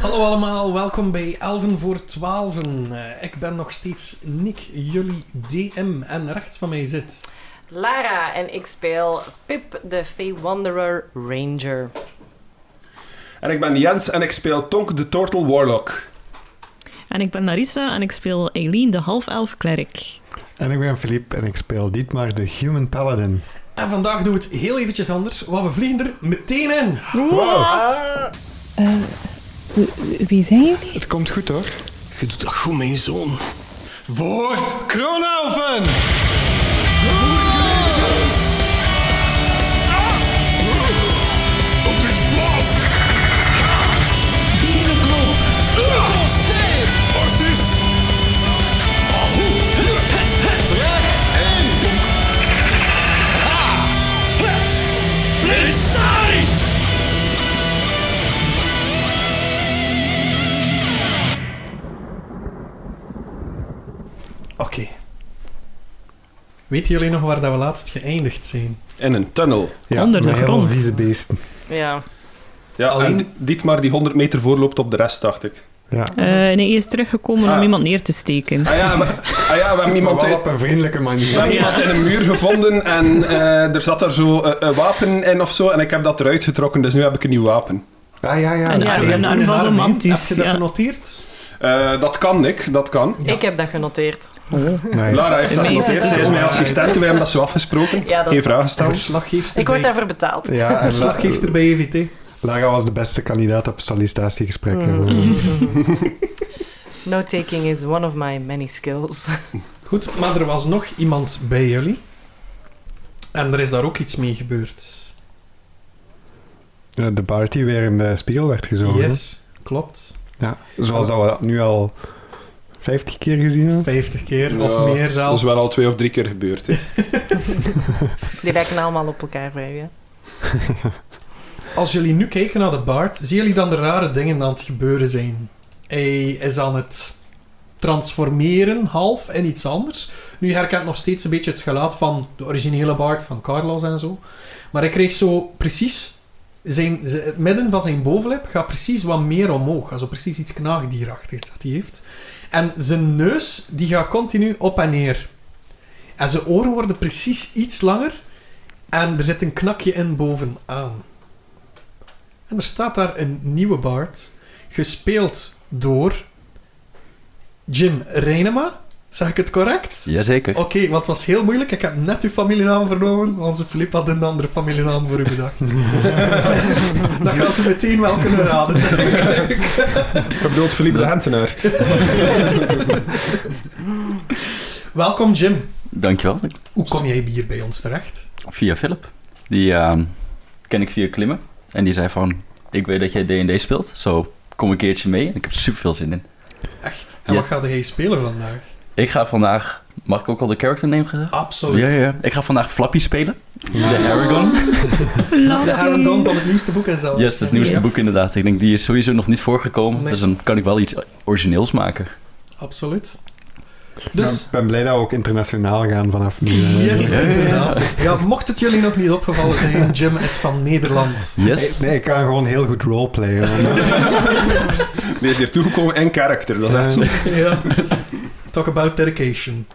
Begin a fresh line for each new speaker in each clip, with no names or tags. Hallo allemaal, welkom bij Elven voor Twaalfen. Eh, Ik ben nog steeds Nick, jullie DM. En rechts van mij zit...
Lara en ik speel Pip de Fey Wanderer Ranger.
En ik ben Jens en ik speel Tonk de Turtle Warlock.
En ik ben Narissa en ik speel Eileen, de half-elf klerk.
En ik ben Philippe en ik speel Dietmar de Human Paladin.
En vandaag doen we het heel eventjes anders, want we vliegen er meteen in.
Wow,
Ah,
Wie zijn jullie?
het komt goed hoor.
Je doet dat goed, mijn zoon.
Voor Kronelven!
Op dit blast! Precies! Blitzaris!
Oké. Weten jullie nog waar dat we laatst geëindigd zijn?
In een tunnel.
Ja,
Onder de
met heel veel
grond.
vieze beesten.
ja.
Ja,
Alleen-
en Dietmar die 100 meter voorloopt op de rest, dacht ik.
Ja.
Eh, nee, hij is teruggekomen om
Ah.
iemand neer te steken.
Ah ja, maar- ah ja we hebben
Maar
iemand,
wel
in-
op een vriendelijke
we
manier.
hebben iemand in een muur gevonden en eh, er zat daar zo eh, een wapen in of zo en ik heb dat eruit getrokken, dus nu heb ik een nieuw wapen.
Ah ja, ja.
En
ja.
daar-
Je
Ja,
hebt
nou,
in
dat
een
was
arm, hè? Heb
romantisch,
je dat
ja.
genoteerd?
Eh, dat kan, Nick, dat kan.
ik heb dat genoteerd.
Nice.
Lara heeft dat
Amazing.
genoteerd, zij is mijn assistent, wij hebben dat zo afgesproken.
Ja, dat
Geen
is-
vragen gesteld.
Verslaggeefster
Ik word
bij,
daarvoor betaald.
Ja, en La-
verslaggeefster bij EVT.
Lara was de beste kandidaat op sollicitatiegesprek.
Mm.
Note taking is one of my many skills.
Goed, maar er was nog iemand bij jullie. En er is daar ook iets mee gebeurd.
Eh, De bar die weer in de spiegel werd gezogen. hè?
Yes, klopt.
Ja. Zoals dat we dat nu al 50 keer gezien hebben.
50 keer
Ja,
of meer
Dat
zelfs.
is wel al twee of drie keer gebeurd. hè.
Die lijken allemaal op elkaar bij je.
Als jullie nu kijken naar de baard, zien jullie dan de rare dingen aan het gebeuren zijn? Hij is aan het transformeren, half, in iets anders. Nu je herkent nog steeds een beetje het geluid van de originele baard van Carlos en zo. Maar hij kreeg zo precies... Zijn, z- het midden van zijn bovenlip gaat precies wat meer omhoog. Also precies iets knaagdierachtigs dat hij heeft. En zijn neus, die gaat continu op en neer. En zijn oren worden precies iets langer. En er zit een knakje in bovenaan. En er staat daar een nieuwe Bard, gespeeld door Jim Reinema. Zeg ik het correct?
Jazeker.
Oké, wat was heel moeilijk. Ik heb net uw familienaam vernomen. Onze Filip had een andere familienaam voor u bedacht. Dan gaan ze meteen wel kunnen raden. denk ik.
Ik bedoel, Philippe de Hentenaar.
Welkom Jim.
Dankjewel.
Hoe kom jij hier bij ons terecht?
Via Philip. Die ehm, ken ik via klimmen. En die zei van, ik weet dat jij D&D speelt, zo kom een keertje mee. En ik heb er super veel zin in.
Echt. En
Yes.
wat gaat jij spelen vandaag?
Ik ga vandaag, mag ik ook al de character name gezegd?
Ah, Absoluut.
Ja, ja, ja. Ik ga vandaag Flappy spelen. De Aragon.
De Arendon van het nieuwste boek is dat.
Yes, het nieuwste
waarschijnlijk.
boek inderdaad. Ik denk, die is sowieso nog niet voorgekomen.
Nee.
Dus dan kan ik wel iets origineels maken.
Absoluut.
Dus...
Dus...
Ik ben blij dat we ook internationaal gaan vanaf nu. hè.
Yes, inderdaad. Ja, mocht het jullie nog niet opgevallen zijn, Jim is van Nederland.
Yes.
Nee, ik kan gewoon heel goed roleplayen. want-
Die is hier toegekomen in karakter, dat is echt zo.
Ja. Talk about dedication.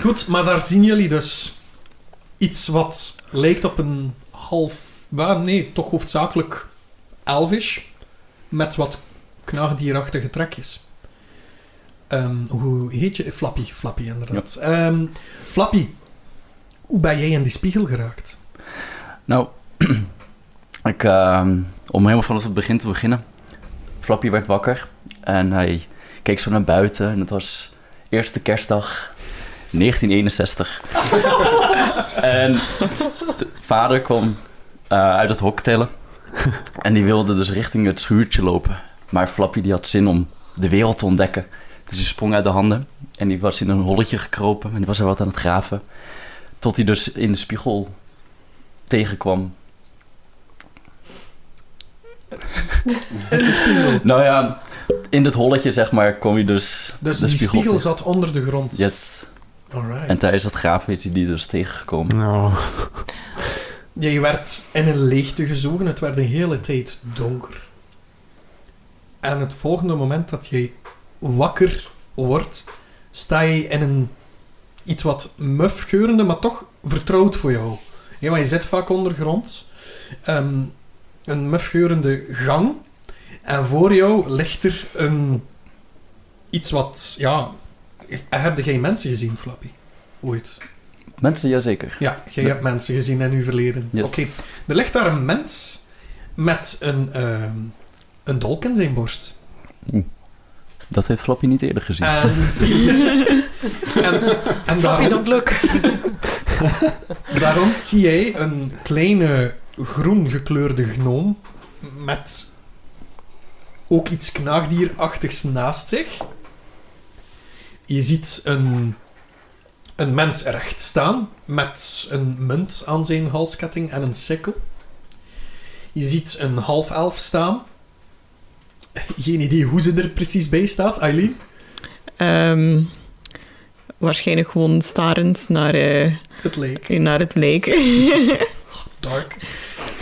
Goed, maar daar zien jullie dus iets wat lijkt op een half... Well, nee, toch hoofdzakelijk elvish. Met wat knaagdierachtige trekjes. Ehm, hoe heet je? Flappy, Flappy inderdaad. Ehm, Flappy, hoe ben jij in die spiegel geraakt?
Nou, ik, ehm, om helemaal vanaf het begin te beginnen. Flappy werd wakker en hij keek zo naar buiten. En het was eerste kerstdag 1961. en de vader kwam eh, uit het hok tellen. En die wilde dus richting het schuurtje lopen. Maar Flappy die had zin om de wereld te ontdekken. Dus hij sprong uit de handen. En die was in een holletje gekropen. En die was er wat aan het graven. Tot hij dus in de spiegel tegenkwam.
In de spiegel.
Nou ja, in dat holletje zeg maar kwam je dus.
Dus
de
die spiegel,
tegen.
zat onder de grond.
Yes.
Alright.
En tijdens dat graven is hij die dus tegengekomen.
Nou,
Jij werd in een leegte gezogen. Het werd een hele tijd donker. En het volgende moment dat jij wakker wordt, sta je in een iets wat muf geurende, maar toch vertrouwd voor jou. Ja, want je zit vaak ondergrond. Ehm, een muf geurende gang. En voor jou ligt er een... Iets wat... Ja... Heb je geen mensen gezien, Flappy? Ooit?
Mensen, jazeker.
Ja, jij
Ja.
hebt mensen gezien in uw verleden.
Yes.
Oké. Er ligt daar een mens met een, ehm, een dolk in zijn borst.
Dat heeft Flappy niet eerder gezien.
En, Ehm, en, en daar,
Flappy
rond,
don't look.
daar rond zie jij een kleine groen gekleurde gnoom met ook iets knaagdierachtigs naast zich. Je ziet een, een mens recht staan met een munt aan zijn halsketting en een sikkel. Je ziet een half elf staan. Geen idee hoe ze er precies bij staat, Eileen.
Ehm, waarschijnlijk gewoon starend naar, eh,
Het leek.
naar het leek.
Dark.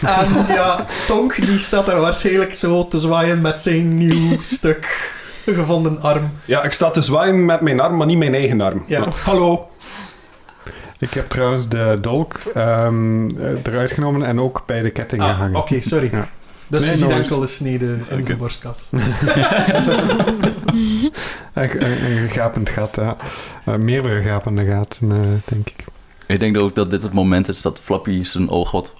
En ja, Tonk die staat daar waarschijnlijk zo te zwaaien met zijn nieuw stuk gevonden arm.
Ja, ik sta te zwaaien met mijn arm, maar niet mijn eigen arm. Oh,
Ja.
Hallo.
Ik heb trouwens de dolk ehm, eruit genomen en ook bij de ketting
Ah,
gehangen.
oké, sorry.
Ja.
Dus
Nee,
je ziet
no
enkel de snede in
Oké.
zijn borstkas.
Echt Een, een gapend gat, ja. Eh, meerdere gapende gaten, eh, denk ik.
Ik denk ook dat dit het moment is dat Flappy zijn ogen wat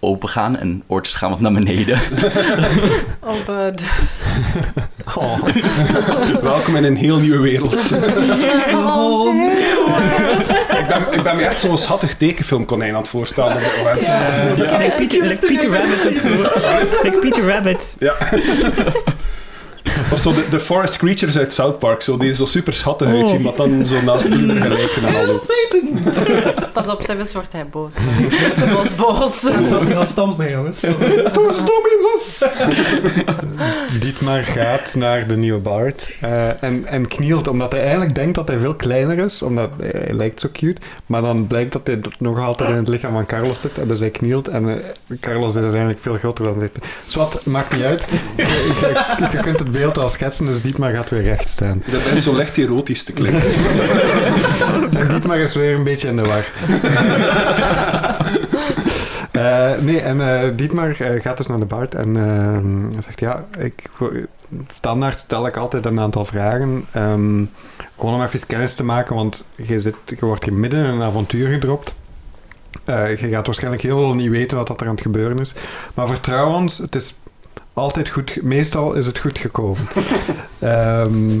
open gaan en oortjes gaan wat naar beneden.
Oh, bud.
Welkom in een heel nieuwe wereld.
Oh, nee.
ik, ben, ik ben me echt zo'n schattig tekenfilmkonijn aan het voorstellen. op dit moment.
Ja, like Peter, like Peter Rabbit of zo. Like Peter Rabbit.
Of zo de, de forest creatures uit South Park, zo, die zo super schattig
Oh.
uitzien, maar dan zo naast ieder gelijk kunnen halen.
Satan!
Pas op, Sebus wordt hij boos. Ze was boos.
Daar staat hij aan stamp mee, jongens. Toen
nou
stom was!
Dietmar gaat naar de nieuwe Bard eh, en, en knielt, omdat hij eigenlijk denkt dat hij veel kleiner is, omdat hij, hij lijkt zo cute. Maar dan blijkt dat hij d- nog altijd in het lichaam van Carlos zit, en dus hij knielt. En eh, Carlos is uiteindelijk veel groter dan dit. Zwat, maakt niet uit. Je, je- je kunt het beeld al schetsen, dus Dietmar gaat weer recht staan.
Dat bent zo licht erotisch te klinken.
En Dietmar is weer een beetje in de war. Eh, nee, en eh, Dietmar eh, gaat dus naar de Bart en eh, zegt: Ja, ik, wou- standaard stel ik altijd een aantal vragen. ehm, gewoon om even kennis te maken, want je, zit, je wordt hier midden in een avontuur gedropt. Eh, je gaat waarschijnlijk heel veel niet weten wat dat er aan het gebeuren is. Maar vertrouw ons, het is altijd goed. ge- Meestal is het goed gekomen. Ehm,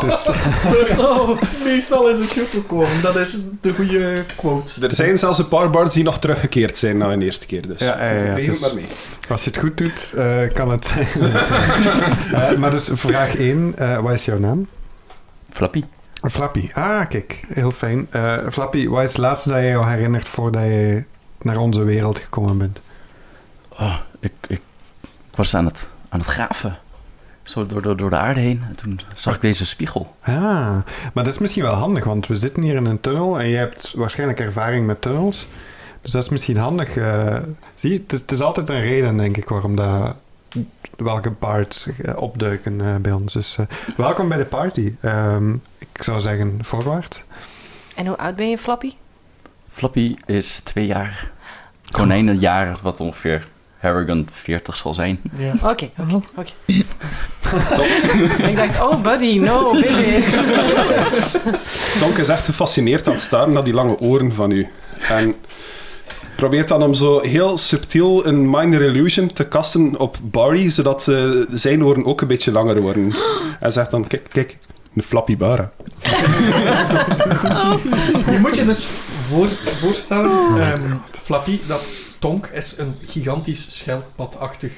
dus.
Meestal is het goed gekomen. Dat is de goede quote.
Er zijn zelfs een paar bards die nog teruggekeerd zijn na hun eerste keer, dus...
Ja, ja, ja,
Regel
dus-
maar mee.
Als je het goed doet, eh, kan het zijn. Eh, maar dus vraag 1, wat is jouw naam?
Flappy,
Flappy. Ah, kijk, heel fijn. Eh, Flappy, wat is het laatste dat je jou herinnert voordat je naar onze wereld gekomen bent?
Ah, ik, ik, ik was aan het, aan het graven. Zo door, door, door de aarde heen. En toen zag ik deze spiegel.
Ah, maar dat is misschien wel handig, want we zitten hier in een tunnel en je hebt waarschijnlijk ervaring met tunnels. Dus dat is misschien handig. eh, zie, je, het is, het is altijd een reden, denk ik, waarom dat, welke paard eh, opduiken eh, bij ons. Dus eh, welkom bij de party. Ehm, ik zou zeggen, voorwaarts.
En hoe oud ben je, Flappy?
Flappy is twee jaar. Konijnenjaar, wat ongeveer Harrigan 40 zal zijn.
Ja.
Oké, oké, oké. En ik dacht, oh buddy, no, baby.
Tonk is echt gefascineerd aan het staren naar die lange oren van u. En probeert dan om zo heel subtiel een minor illusion te kasten op Barry, zodat eh, zijn oren ook een beetje langer worden. En zegt dan, kijk, kijk, een flappy bara.
Je moet je dus voor, voorstellen, ehm, Flappy, dat Tonk is een gigantisch schelpadachtig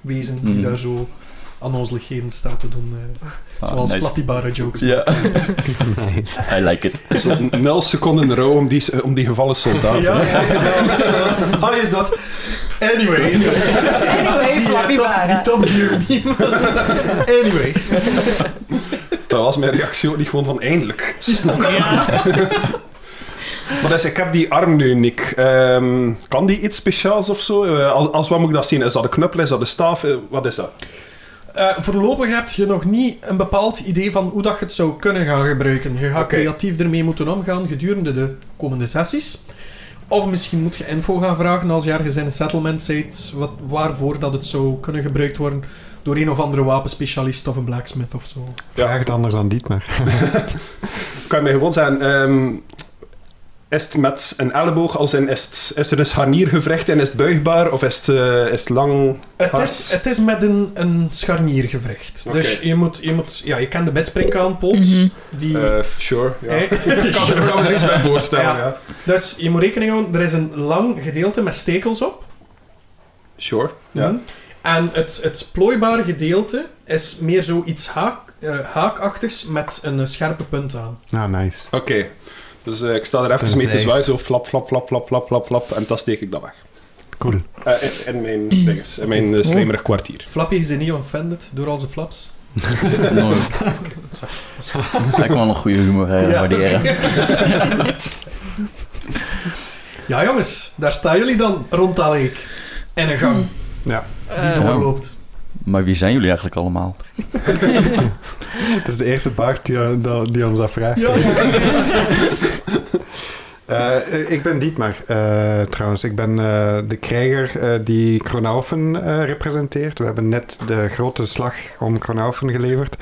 wezen die
Mm.
daar zo aan ons legeren staat te doen. eh,
Ah,
zoals
nice.
Flappy Barra jokes.
Ja,
Nice.
I like it.
Zo nul seconden rouw om die, om die gevallen soldaat.
Ja,
hè.
ja, ja. Allee, is dat. Anyway.
Anyway,
Die, eh,
Flappy
top-
Barra.
Die Top Gear meme was- Anyway.
Dat was mijn reactie ook niet gewoon van eindelijk. Snap. Maar dus, ik heb die arm nu, Nick. Ehm, kan die iets speciaals of zo? Eh, als, als wat moet ik dat zien? Is dat een knuppel? Is dat een staaf? Eh, wat is dat?
Eh, voorlopig heb je nog niet een bepaald idee van hoe dat je het zou kunnen gaan gebruiken. Je gaat
Oké.
creatief ermee moeten omgaan gedurende de komende sessies. Of misschien moet je info gaan vragen als je ergens in een settlement zit, wat, waarvoor dat het zou kunnen gebruikt worden door een of andere wapenspecialist of een blacksmith of zo.
Vraag het anders aan Dietmar.
Kan je mij gewoon zeggen, ehm, is het met een elleboog als in, is, het- is er een scharnier gevrecht en is het buigbaar of is het, eh, is het lang?
Het
Hard.
is, het is met een, een scharniergevrecht.
Oké.
Dus je moet, je moet... Ja, je kent de bedspringkaanpot.
Mhm.
Die...
Eh, sure, ja.
Eh,
Ik kan, ik kan me er iets bij voorstellen,
Ja.
ja.
dus je moet rekening houden, er is een lang gedeelte met stekels op.
Sure, ja.
Mhm. En het, het plooibare gedeelte is meer zoiets haak, eh, haakachtigs met een eh, scherpe punt aan.
Nou, nice.
Oké. Dus eh, ik sta er even mee te
Precies.
zwaaien, zo flap, flap, flap, flap, flap, flap, flap, en dan steek ik dat weg.
Cool.
Eh, in, in mijn dinges, in mijn eh, slijmerig kwartier.
Flappy is niet offended door al zijn flaps.
Mooi.
Zo, dat is goed.
Dat kan ik wel een goede humor eh,
Ja.
waarderen.
Ja jongens, daar staan jullie dan rond dat leek. In een gang die
Eh,
doorloopt.
Maar wie zijn jullie eigenlijk allemaal?
Het is de eerste Bart die, die, die ons dat vraagt.
Ja, ja.
Eh, ik ben Dietmar, eh, trouwens. Ik ben eh, de krijger eh, die Kronaufen eh, representeert. We hebben net de grote slag om Kronaufen geleverd.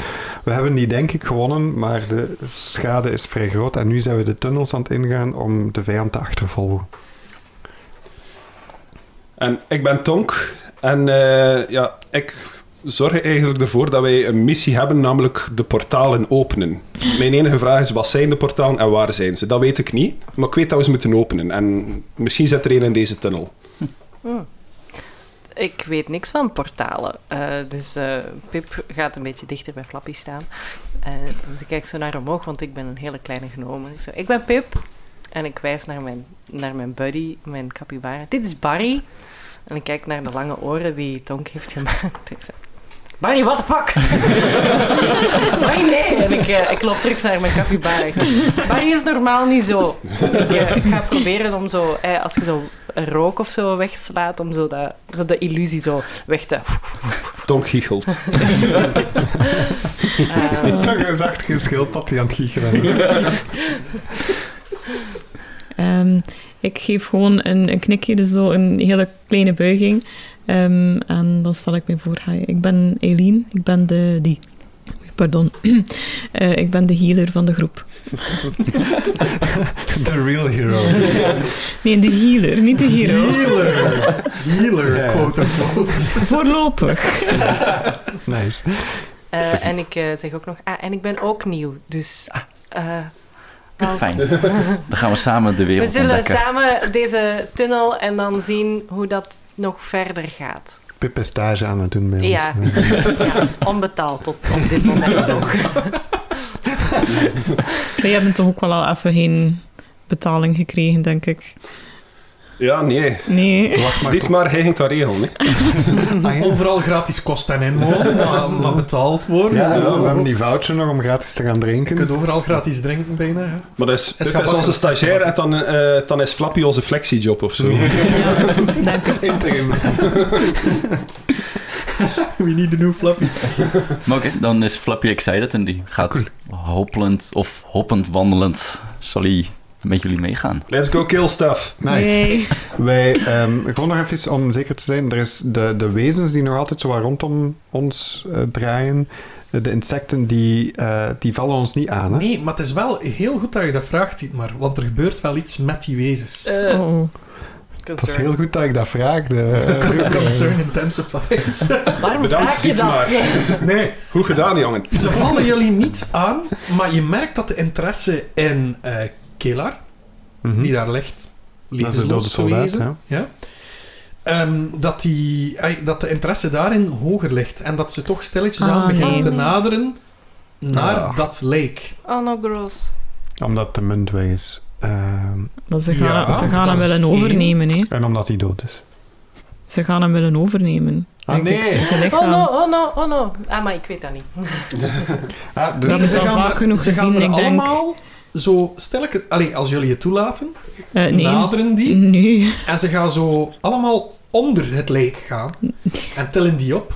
We hebben die denk ik gewonnen, maar de schade is vrij groot. En nu zijn we de tunnels aan het ingaan om de vijand te achtervolgen.
En ik ben Tonk. En eh, ja, ik zorg eigenlijk ervoor dat wij een missie hebben, namelijk de portalen openen. Mijn enige vraag is, wat zijn de portalen en waar zijn ze? Dat weet ik niet, maar ik weet dat we ze moeten openen. En misschien zit er een in deze tunnel.
Ik weet niks van portalen. Eh, dus eh, Pip gaat een beetje dichter bij Flappy staan. Eh, dus ik kijk zo naar omhoog, want ik ben een hele kleine gnome. Ik, zeg, ik ben Pip. En ik wijs naar mijn, naar mijn buddy, mijn capybara. Dit is Barry. En ik kijk naar de lange oren die Tonk heeft gemaakt. Ik zeg, Barry, what the fuck? Barry, nee. En ik, eh, ik loop terug naar mijn capybara. Ik zeg, Barry is normaal niet zo. Ik, eh, ik ga proberen om zo, eh, als je zo een rook of zo wegslaat, om zo, dat, zo de illusie zo weg te...
Tonk giechelt.
eh,
Zo'n zacht schildpad die aan het giechelen is.
Ehm, ik geef gewoon een, een knikje, dus zo een hele kleine buiging. Ehm, en dan stel ik me voor. Hi, ik ben Eileen, ik ben de... Die. Oei, Pardon. Eh, ik ben de healer van de groep.
The real hero.
Nee, de healer, niet de hero.
Healer. Healer,
Ja.
quote unquote.
Voorlopig.
Nice.
Eh, en ik eh, zeg ook nog, ah, en ik ben ook nieuw, dus. eh, wel,
Fijn. Dan gaan we samen de
we
wereld
zullen
ontdekken.
samen deze tunnel en dan zien hoe dat nog verder gaat.
Pip is stage aan het doen bij
Ja.
ons.
Ja, onbetaald op, op dit moment nog.
Maar jij hebt toch ook wel al even geen betaling gekregen, denk ik.
Ja, nee.
Nee.
Wacht maar.
Dit maar, hij ging dat regelen. Hè.
Ah, ja.
Overal gratis kost en inwonen, maar, maar betaald worden.
Ja, we hebben
je
die voucher nog om gratis te gaan drinken.
kunt overal gratis drinken bijna. hè.
Maar dat is,
Het is
Pip is
grappig.
onze stagiair en dan, eh, dan is Flappy onze flexiejob of zo.
Dank het.
We need the new Flappy.
Maar oké, dan is Flappy excited en die gaat hoppelend of hoppend wandelend. Zal hij met jullie meegaan?
Let's go kill stuff.
Nice.
Yay.
Wij, ehm, gewoon nog even om zeker te zijn, er is de, de wezens die nog altijd zo wat rondom ons eh, draaien, eh, de insecten, die, eh, die vallen ons niet aan. Hè?
Nee, maar het is wel heel goed dat je dat vraagt, Dietmar. Want er gebeurt wel iets met die wezens.
Eh,
Oh.
Het is
concern.
heel goed dat ik dat vraagde.
Eh, Concern intensifies.
Waarom
Bedankt,
vraag je dat?
Dietmar.
nee,
Goed gedaan, jongen.
ze vallen jullie niet aan, maar je merkt dat de interesse in eh Kelar,
Mhm.
die daar ligt,
Dat is de dode
levensloos te
soldaat,
wezen,
ja.
ehm, dat, die, eh, dat de interesse daarin hoger ligt. En dat ze toch stilletjes
Ah,
aan begint
nee.
te naderen naar
Ah.
dat leek.
Oh, no, gross.
Omdat de munt weg is. Ehm,
Maar ze gaan,
Ja,
ze gaan
dat
hem
is
willen overnemen, hè.
en omdat hij dood is.
Ze gaan hem willen overnemen.
Ah,
denk ik. Ze-
nee.
Ze
Oh no,
lichaam.
oh no, oh no. Ah, maar ik weet dat niet.
Ah,
Dat
dus
is al vaak
er-
genoeg
ze gaan
gezien,
er
ik denk.
allemaal zo stilletjes... Allee, als jullie het toelaten,
Eh, nee.
naderen die.
Nee.
En ze gaan zo allemaal onder het lijk gaan. En tillen die op.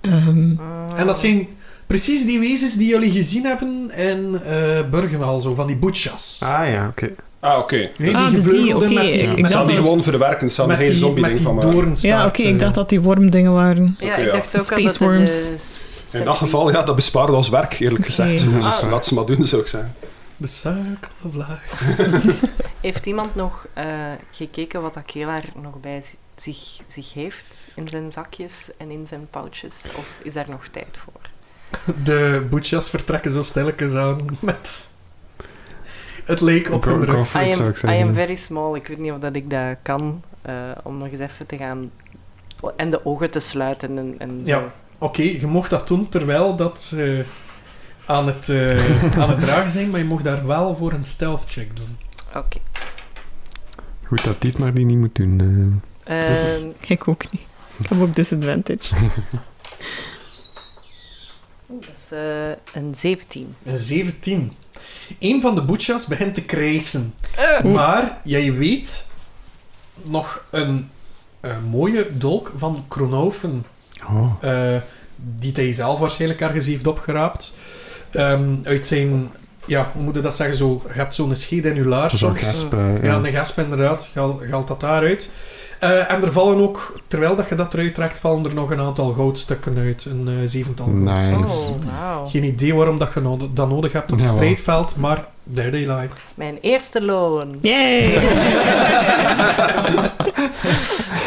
Ehm,
En dat zijn precies die wezens die jullie gezien hebben in eh Burgenhal, zo, van die butchas.
Ah ja, oké.
Ah, oké.
Nee,
Ah,
die
de
gevleugelden
die, oké,
met die,
ik- ik
met
Ze
dacht
hadden die
dat-
gewoon verwerken, ze hadden
met
geen
die,
zombie
met
ding
die
van maken.
doornstaart,
ja, oké, ik
eh.
dacht dat die wormdingen waren.
Ja,
Oké,
ik
ja.
dacht ook
De
al dat
space worms.
het... eh,
In dat geval, ja, dat bespaarde ons werk, eerlijk
Oké.
gezegd.
Ja,
Dus
dat is
Ah.
waar.
laat ze maar doen, zou ik zeggen.
The circle of life.
Heeft iemand nog eh, gekeken wat Akela er nog bij zi- zich, zich heeft? In zijn zakjes en in zijn pouches? Of is daar nog tijd voor?
De butchas vertrekken zo stilletjes aan met het leek op hun
Go-
rug.
go
I
for it, zou
am,
ik
I am
zeggen.
very small. Ik weet niet of dat ik dat kan. eh, om nog eens even te gaan... En de ogen te sluiten en, en zo.
Ja. Oké, je mocht dat doen terwijl dat ze aan het, eh, aan het dragen zijn, maar je mocht daar wel voor een stealth check doen.
Oké.
Goed dat Dietmar die niet moet doen. eh.
Ehm,
Ik ook niet. Ik heb ook disadvantage.
dat is eh, een 17.
Een 17. Een van de butchas begint te krijsen.
Eh,
Maar jij weet nog een, eh, mooie dolk van Kronoven.
Oh.
eh, die hij zelf waarschijnlijk ergens heeft opgeraapt. Ehm, uit zijn, ja, hoe moet je dat zeggen? Zo, je hebt zo'n scheet in je
Dat
laars
is ook
soms.
gasp, eh,
Ja,
ja.
de gasp inderdaad, haal- haalt dat daaruit. Eh en er vallen ook, terwijl dat je dat eruit trekt, vallen er nog een aantal goudstukken uit. Een eh, zevental
Nice.
goudstukken.
Oh, wauw.
Geen idee waarom dat je no- dat nodig hebt op het
Ja, wel.
strijdveld, maar there they lie.
Mijn eerste loon.
Yay!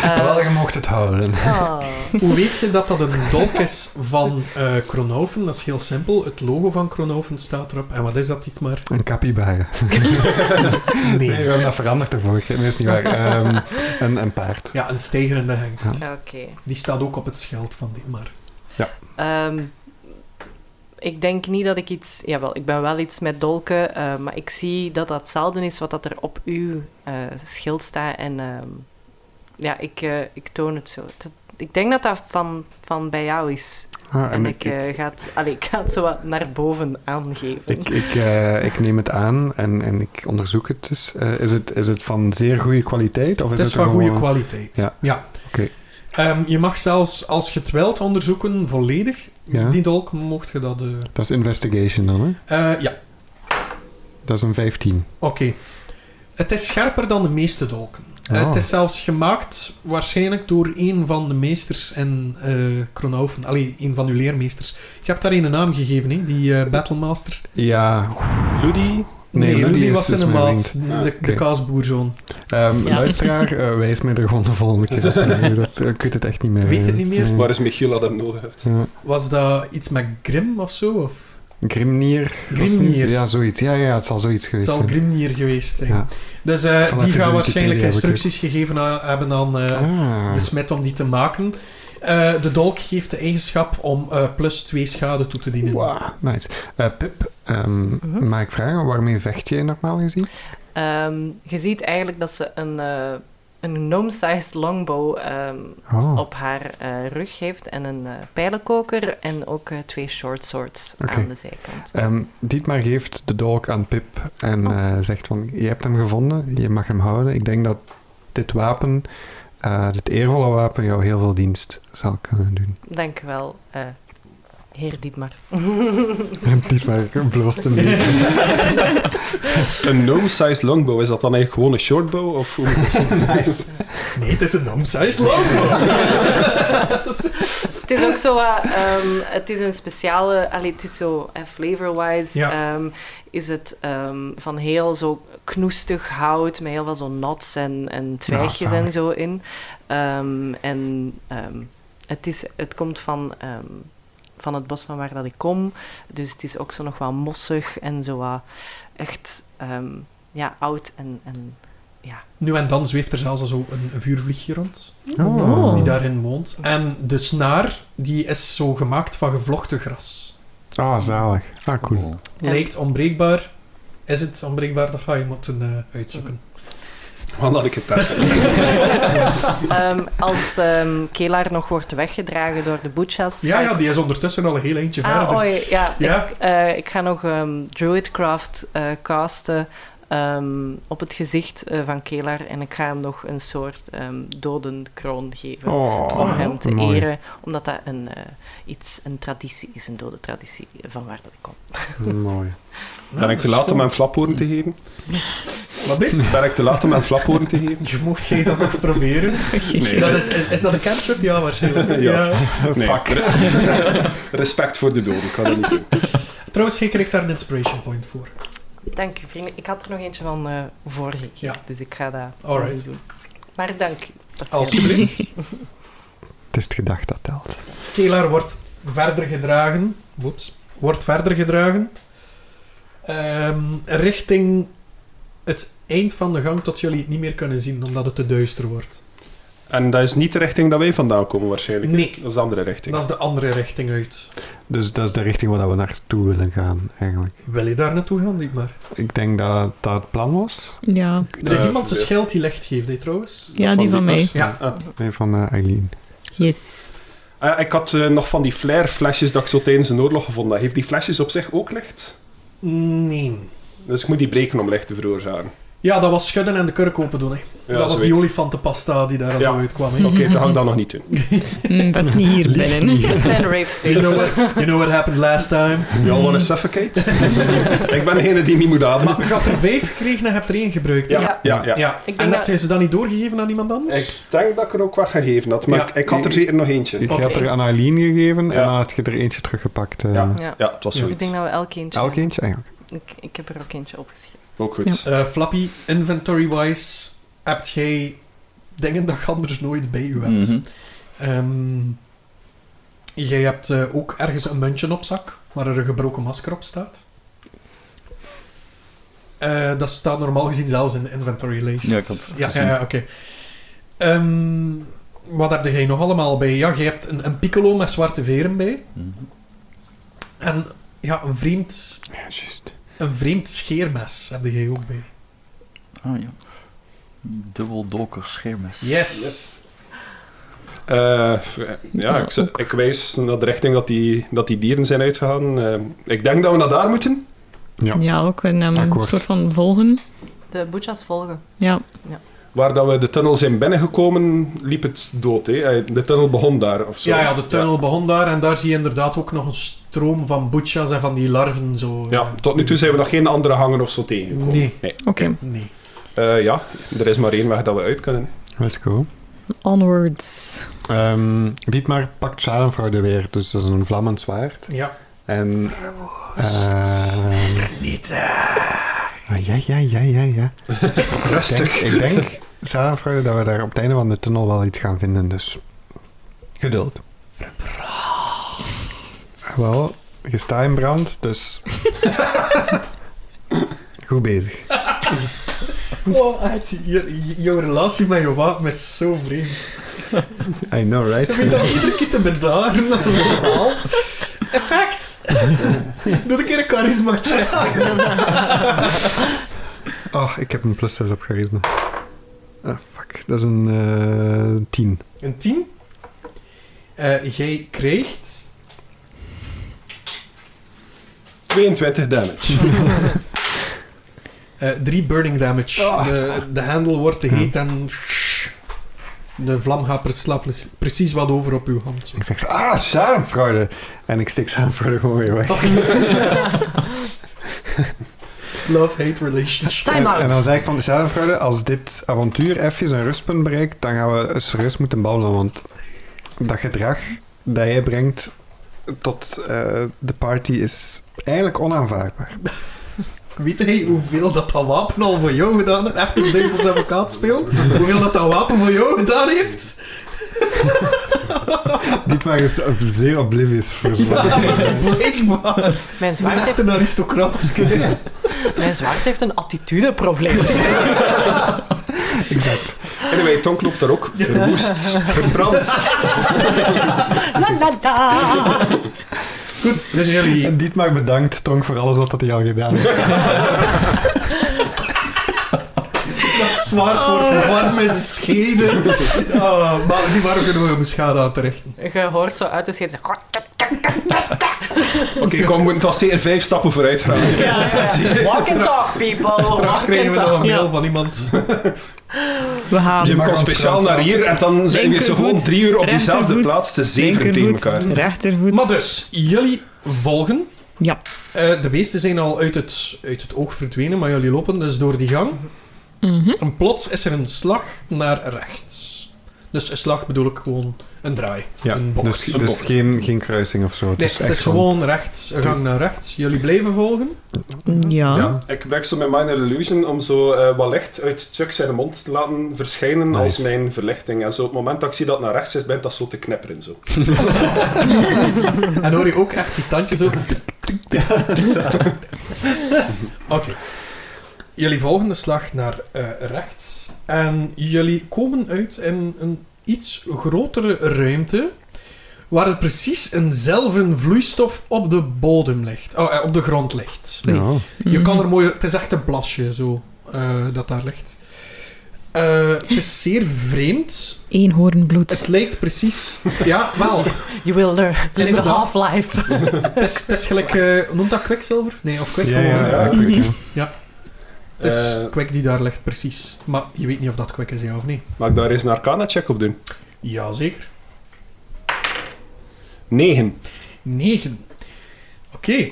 Eh,
Wel, je mocht het houden.
oh.
Hoe weet je dat dat een dolk is van eh Kronoven? Dat is heel simpel. Het logo van Kronoven staat erop. En wat is dat niet maar?
Een capybara. Nee, we
Nee.
hebben dat veranderd de vorige keer. Nee, is niet waar. Ehm, een, een paard.
Ja, een stijgerende hengst.
Ja.
Oké.
Die staat ook op het schild van die maar.
Ehm, ik denk niet dat ik iets... Jawel, ik ben wel iets met dolken, eh, maar ik zie dat dat hetzelfde is wat dat er op uw eh, schild staat. En ehm, ja, ik, eh, ik toon het zo. Dat- ik denk dat dat van, van bij jou is.
Ah,
En,
en
ik, eh, ga het, allee, ik ga het zo wat naar boven aangeven.
Ik, ik, eh, ik neem het aan en, en ik onderzoek het dus. Eh, is, het, is het van zeer goede kwaliteit? Of is
Het is
er
van goede
gewoon-
kwaliteit.
Ja. Oké.
Ehm, je mag zelfs, als je het wilt, onderzoeken volledig.
Ja.
Die dolk mocht je dat... eh
Dat is investigation dan, hè?
eh, ja,
Dat is een 15.
oké. Het is scherper dan de meeste dolken. Eh,
Oh.
Het is zelfs gemaakt waarschijnlijk door een van de meesters in eh Kronhoven. Allee, een van uw leermeesters. Je hebt daar een naam gegeven, hè? die eh, Battlemaster.
Ja,
Ludie?
Nee,
Rudy
Rudy
is
was
dus
in een
mijn
maat. De,
Ah,
de
oké.
kaasboerzoon.
Ehm,
Ja.
Luisteraar, eh, wijs mij er gewoon de volgende keer op. Nee, dat, eh, ik weet het echt niet meer.
Weet het niet meer?
Nee.
Waar is Michiel dat hem nodig heeft?
Ja.
Was dat iets met Grim of zo? Of?
Grimnir.
Grimnir.
Ja, zoiets. Ja, ja, het zal zoiets
Het
geweest
zal
zijn.
Grimnir geweest zijn.
Ja.
Dus eh,
zal
die
even
gaan
de
waarschijnlijk
Wikipedia
instructies gegeven a- hebben aan eh,
Ah.
de smet om die te maken. Eh, de dolk geeft de eigenschap om eh, plus 2 schade toe te dienen.
Wauw, nice. Eh, Pip, ehm,
Mhm.
mag ik vragen, waarmee vecht je normaal gezien?
Ehm, je ziet eigenlijk dat ze een, eh, een gnome-sized longbow ehm,
Oh,
op haar eh, rug heeft en een eh, pijlenkoker en ook eh, twee short swords
Oké.
aan de zijkant.
Ehm, Dietmar geeft de dolk aan Pip en eh, zegt van, je hebt hem gevonden, je mag hem houden. Ik denk dat dit wapen, eh, dit eervolle wapen, jou heel veel dienst zal kunnen doen.
Dank u wel, eh, heer Dietmar.
En Dietmar bloost een beetje.
Een gnome-sized longbow, is dat dan eigenlijk gewoon een shortbow? Of hoe moet ik dat zien?
Nee, het is een gnome-sized longbow.
het is ook zo wat, ehm, het is een speciale, allee, het is zo eh, flavor-wise,
Ja.
ehm, is het ehm, van heel zo knoestig hout met heel veel zo knots en, en twijgjes en
zalig.
zo in. Ehm, en ehm, het, is, het komt van, ehm, van het bos van waar dat ik kom, dus het is ook zo nog wel mossig en zo wat echt ehm, ja, oud en, en
Nu en dan zweeft er zelfs al zo een, een vuurvliegje rond,
Oh.
die daarin woont. En de snaar, die is zo gemaakt van gevlochten gras.
Ah, zalig. Ah, cool.
Oh.
Ja.
Lijkt onbreekbaar. Is het onbreekbaar? Dat ga je moeten eh, uitzoeken.
Want dat ik het test.
Ehm, als ehm Kelaar nog wordt weggedragen door de butchas.
Ja,
ga ik-
ja, die is ondertussen al een heel eindje
Ah,
verder.
oei, ja.
Ja.
Ik, eh, ik ga nog ehm, Druidcraft eh, casten ehm, op het gezicht eh, van Kelaar en ik ga hem nog een soort ehm dodenkroon geven.
Oh,
om hem te
mooi.
eren, omdat dat een, eh, iets, een traditie is, een dode traditie van waar dat ik kom.
mooi.
Ben ik te laat om mijn flaphoorn te geven?
Wat blieft?
Ben ik te laat om mijn flaphoorn te geven?
Je mocht jij dat nog proberen?
Nee.
Dat is, is, is dat een cantrip? Ja, waarschijnlijk.
Ja.
Ja.
Nee.
Fuck.
Re- Respect voor de doden, ik kan dat niet doen.
Trouwens, jij kreeg daar een inspiration point voor.
Dank u, vrienden. Ik had er nog eentje van eh vorige keer,
Ja.
dus ik ga dat
Alright.
opnieuw doen. Maar dank u. Dat is heel-
Alsjeblieft.
Het is het gedacht dat telt.
Kelaar wordt verder gedragen. Oeps. Wordt verder gedragen. Ehm, richting het eind van de gang tot jullie het niet meer kunnen zien, omdat het te duister wordt.
En dat is niet de richting dat wij vandaan komen waarschijnlijk.
Nee.
Dat is de andere richting.
Dat is de andere richting uit.
Dus dat is de richting waar we naartoe willen gaan, eigenlijk.
Wil je daar naartoe gaan, Dietmar?
Ik denk dat dat het plan was.
Ja,
Er is
Eh,
iemand zijn
ja.
schild die licht geeft, hè, trouwens.
ja die van mij.
Ja.
Ah.
Nee, van eh, Eileen.
Yes.
Eh, ik had eh, nog van die flairflesjes dat ik zo tijdens een oorlog gevonden. Heeft die flesjes op zich ook licht?
Nee.
Dus ik moet die breken om licht te veroorzaken.
Ja, dat was schudden en de kurk open doen. Hè.
Ja,
dat was die
zoiets.
olifantenpasta die daar
Ja.
zo uitkwam. Hè.
Oké, dan ga ik dat nog niet doen.
Mm, best niet hier binnen.
Het zijn rave
You,
states.
know what, you know what happened last time.
Y'all wanna suffocate? ik ben degene die niet moet ademen.
Maar Ah, je had er vijf gekregen en je hebt er één gebruikt. hè?
Ja, ja, ja.
Ja.
denk
En
dat-
heb jij ze dan niet doorgegeven aan iemand anders?
Ik denk dat ik er ook wat gegeven had, maar
Ja.
ik, ik had er zeker nog eentje.
Ik
Oké.
had er aan Eileen gegeven en
Ja.
dan had je er eentje teruggepakt. eh.
Ja.
Ja.
Ja, het was
Ja.
Ik
zoiets.
denk dat we elk eentje...
Elk eentje Ah, eigenlijk.
Ik, ik heb er ook eentje opgeschreven.
Ook goed.
Eh, Flappy, inventory-wise, hebt jij dingen dat je anders nooit bij je hebt.
Mhm.
Ehm, jij hebt eh, ook ergens een muntje op zak, waar er een gebroken masker op staat. Eh, dat staat normaal gezien zelfs in de inventory list.
Ja, ik had het
ja, ja,
gezien.
ja, oké. Ehm, wat heb jij nog allemaal bij? Ja, je hebt een, een piccolo met zwarte veren bij.
Mhm.
En ja, een vreemd,
Ja, juist.
een vreemd scheermes heb jij ook bij.
Ah ja. Dubbel dolker scheermes.
yes.
Eh, ja, ik, z- ik wijs naar de richting dat die, dat die dieren zijn uitgegaan. Eh, ik denk dat we naar daar moeten.
Ja.
Ja, ook een ehm,
Akkoord.
soort van volgen.
De boetjas volgen.
Ja,
Waar dat we de tunnel zijn binnengekomen, liep het dood. Hè? Eh, De tunnel begon daar of zo.
Ja, ja, de tunnel begon daar en daar zie je inderdaad ook nog een stroom van boetjas en van die larven zo.
Ja. Ja, tot nu toe zijn we nog geen andere hangen of zo tegengekomen.
Nee.
oké.
Nee.
Eh, ja, er is maar één weg dat we uit kunnen.
Let's go.
Onwards.
Ehm Dietmar pakt schadenfraude weer, dus dat is een vlammend zwaard.
Ja.
En... eh
Niet.
ah, ja, ja, ja, ja, ja.
Rustig.
Ik denk, ik denk schadenfraude, dat we daar op het einde van de tunnel wel iets gaan vinden, dus... Geduld. Verbrand. Wel, je staat in brand, dus... Goed bezig.
Wow, echt, je, jouw relatie met je wapen is zo vreemd.
I know,
Je weet
right?
dat iedere keer te bedaren. dat is normaal. Effect! Doe een keer een charisma check.
Oh, ik heb een plus 6 op charisma. Ah, fuck. Dat is een eh 10.
Een 10. Eh, jij krijgt
22 damage.
eh, drie burning damage. De, de hendel wordt te heet en de vlam gaat pre- slaat pre- precies wat over op uw hand.
Ik zeg, ah, schadenfraude. En ik steek schadenfraude gewoon weer weg.
Love-hate relationship.
En, en dan zei ik van, schadenfraude, als dit avontuur even een rustpunt bereikt, dan gaan we serieus moeten babbelen, want dat gedrag dat jij brengt tot eh, de party is eigenlijk onaanvaardbaar.
Weet jij hoeveel dat, dat wapen al voor jou gedaan heeft? Even duivels advocaat speel. Hoeveel dat, dat wapen voor jou gedaan heeft?
Dit maar is zeer oblivious voor zo'n
Blijkbaar.
Mijn zwaard,
Echt
heeft,
een aristocraat.
mijn zwaard heeft een attitudeprobleem.
Exact.
Anyway, Tonk loopt daar ook. Verwoest. Verbrand.
la la la.
Goed, dus jullie...
En Dietmar bedankt, Tonk, voor alles wat dat hij al gedaan heeft.
Dat zwaard wordt warm in zijn scheden. Oh, Ah, maar die waren genoeg om schade aan te richten.
Je hoort zo uit de scheet. zeggen,
Oké, kom, we moeten toch zeker vijf stappen vooruit gaan.
Walk and talk, people.
Straks kregen we nog een mail van iemand.
We gaan
Jim
mag
komt
ons
speciaal
kruis
naar hier en dan zijn we weer zo gewoon
Linkervoet,
drie uur op diezelfde
rechtervoet,
plaats te zeven tegen elkaar.
rechtervoet.
Maar dus, jullie volgen.
Ja.
Eh, de beesten zijn al uit het, uit het oog verdwenen, maar jullie lopen dus door die gang.
Mhm.
En plots is er een slag naar rechts. Dus een slag bedoel ik gewoon een draai.
Ja,
een bocht.
dus,
Een
dus
bocht.
geen, geen kruising of zo.
Nee,
dus
het is gewoon rechts, een gang naar rechts. Jullie blijven volgen.
Ja.
Ja. Ik gebruik zo mijn Minor Illusion om zo eh, wat licht uit Chuck zijn mond te laten verschijnen
Nice.
als mijn verlichting. En zo op het moment dat ik zie dat het naar rechts is, bent dat zo te knipperen. Zo.
En hoor je ook echt die tandjes ook. Oké. Jullie volgen de slag naar eh, rechts. En jullie komen uit in een iets grotere ruimte. Waar er precies eenzelfde vloeistof op de bodem ligt. Oh, eh, op de grond ligt.
Ja.
Je kan er mooi... Het is echt een plasje, zo, eh, dat daar ligt. Eh, het is zeer vreemd. Het
Eenhoornbloed.
lijkt precies... Ja, wel.
You will learn. Live a
Inderdaad.
half-life.
Het is, het is gelijk... eh, noemt dat kwikzilver? Nee, of kwik?
Ja,
gewoon,
ja,
hè?
ja, ik weet het, ja.
Het is
Eh,
kwik die daar ligt, precies. Maar je weet niet of dat kwik is, ja of nee.
Mag ik daar eens een Arcana-check op doen?
Jazeker.
9.
9. Oké.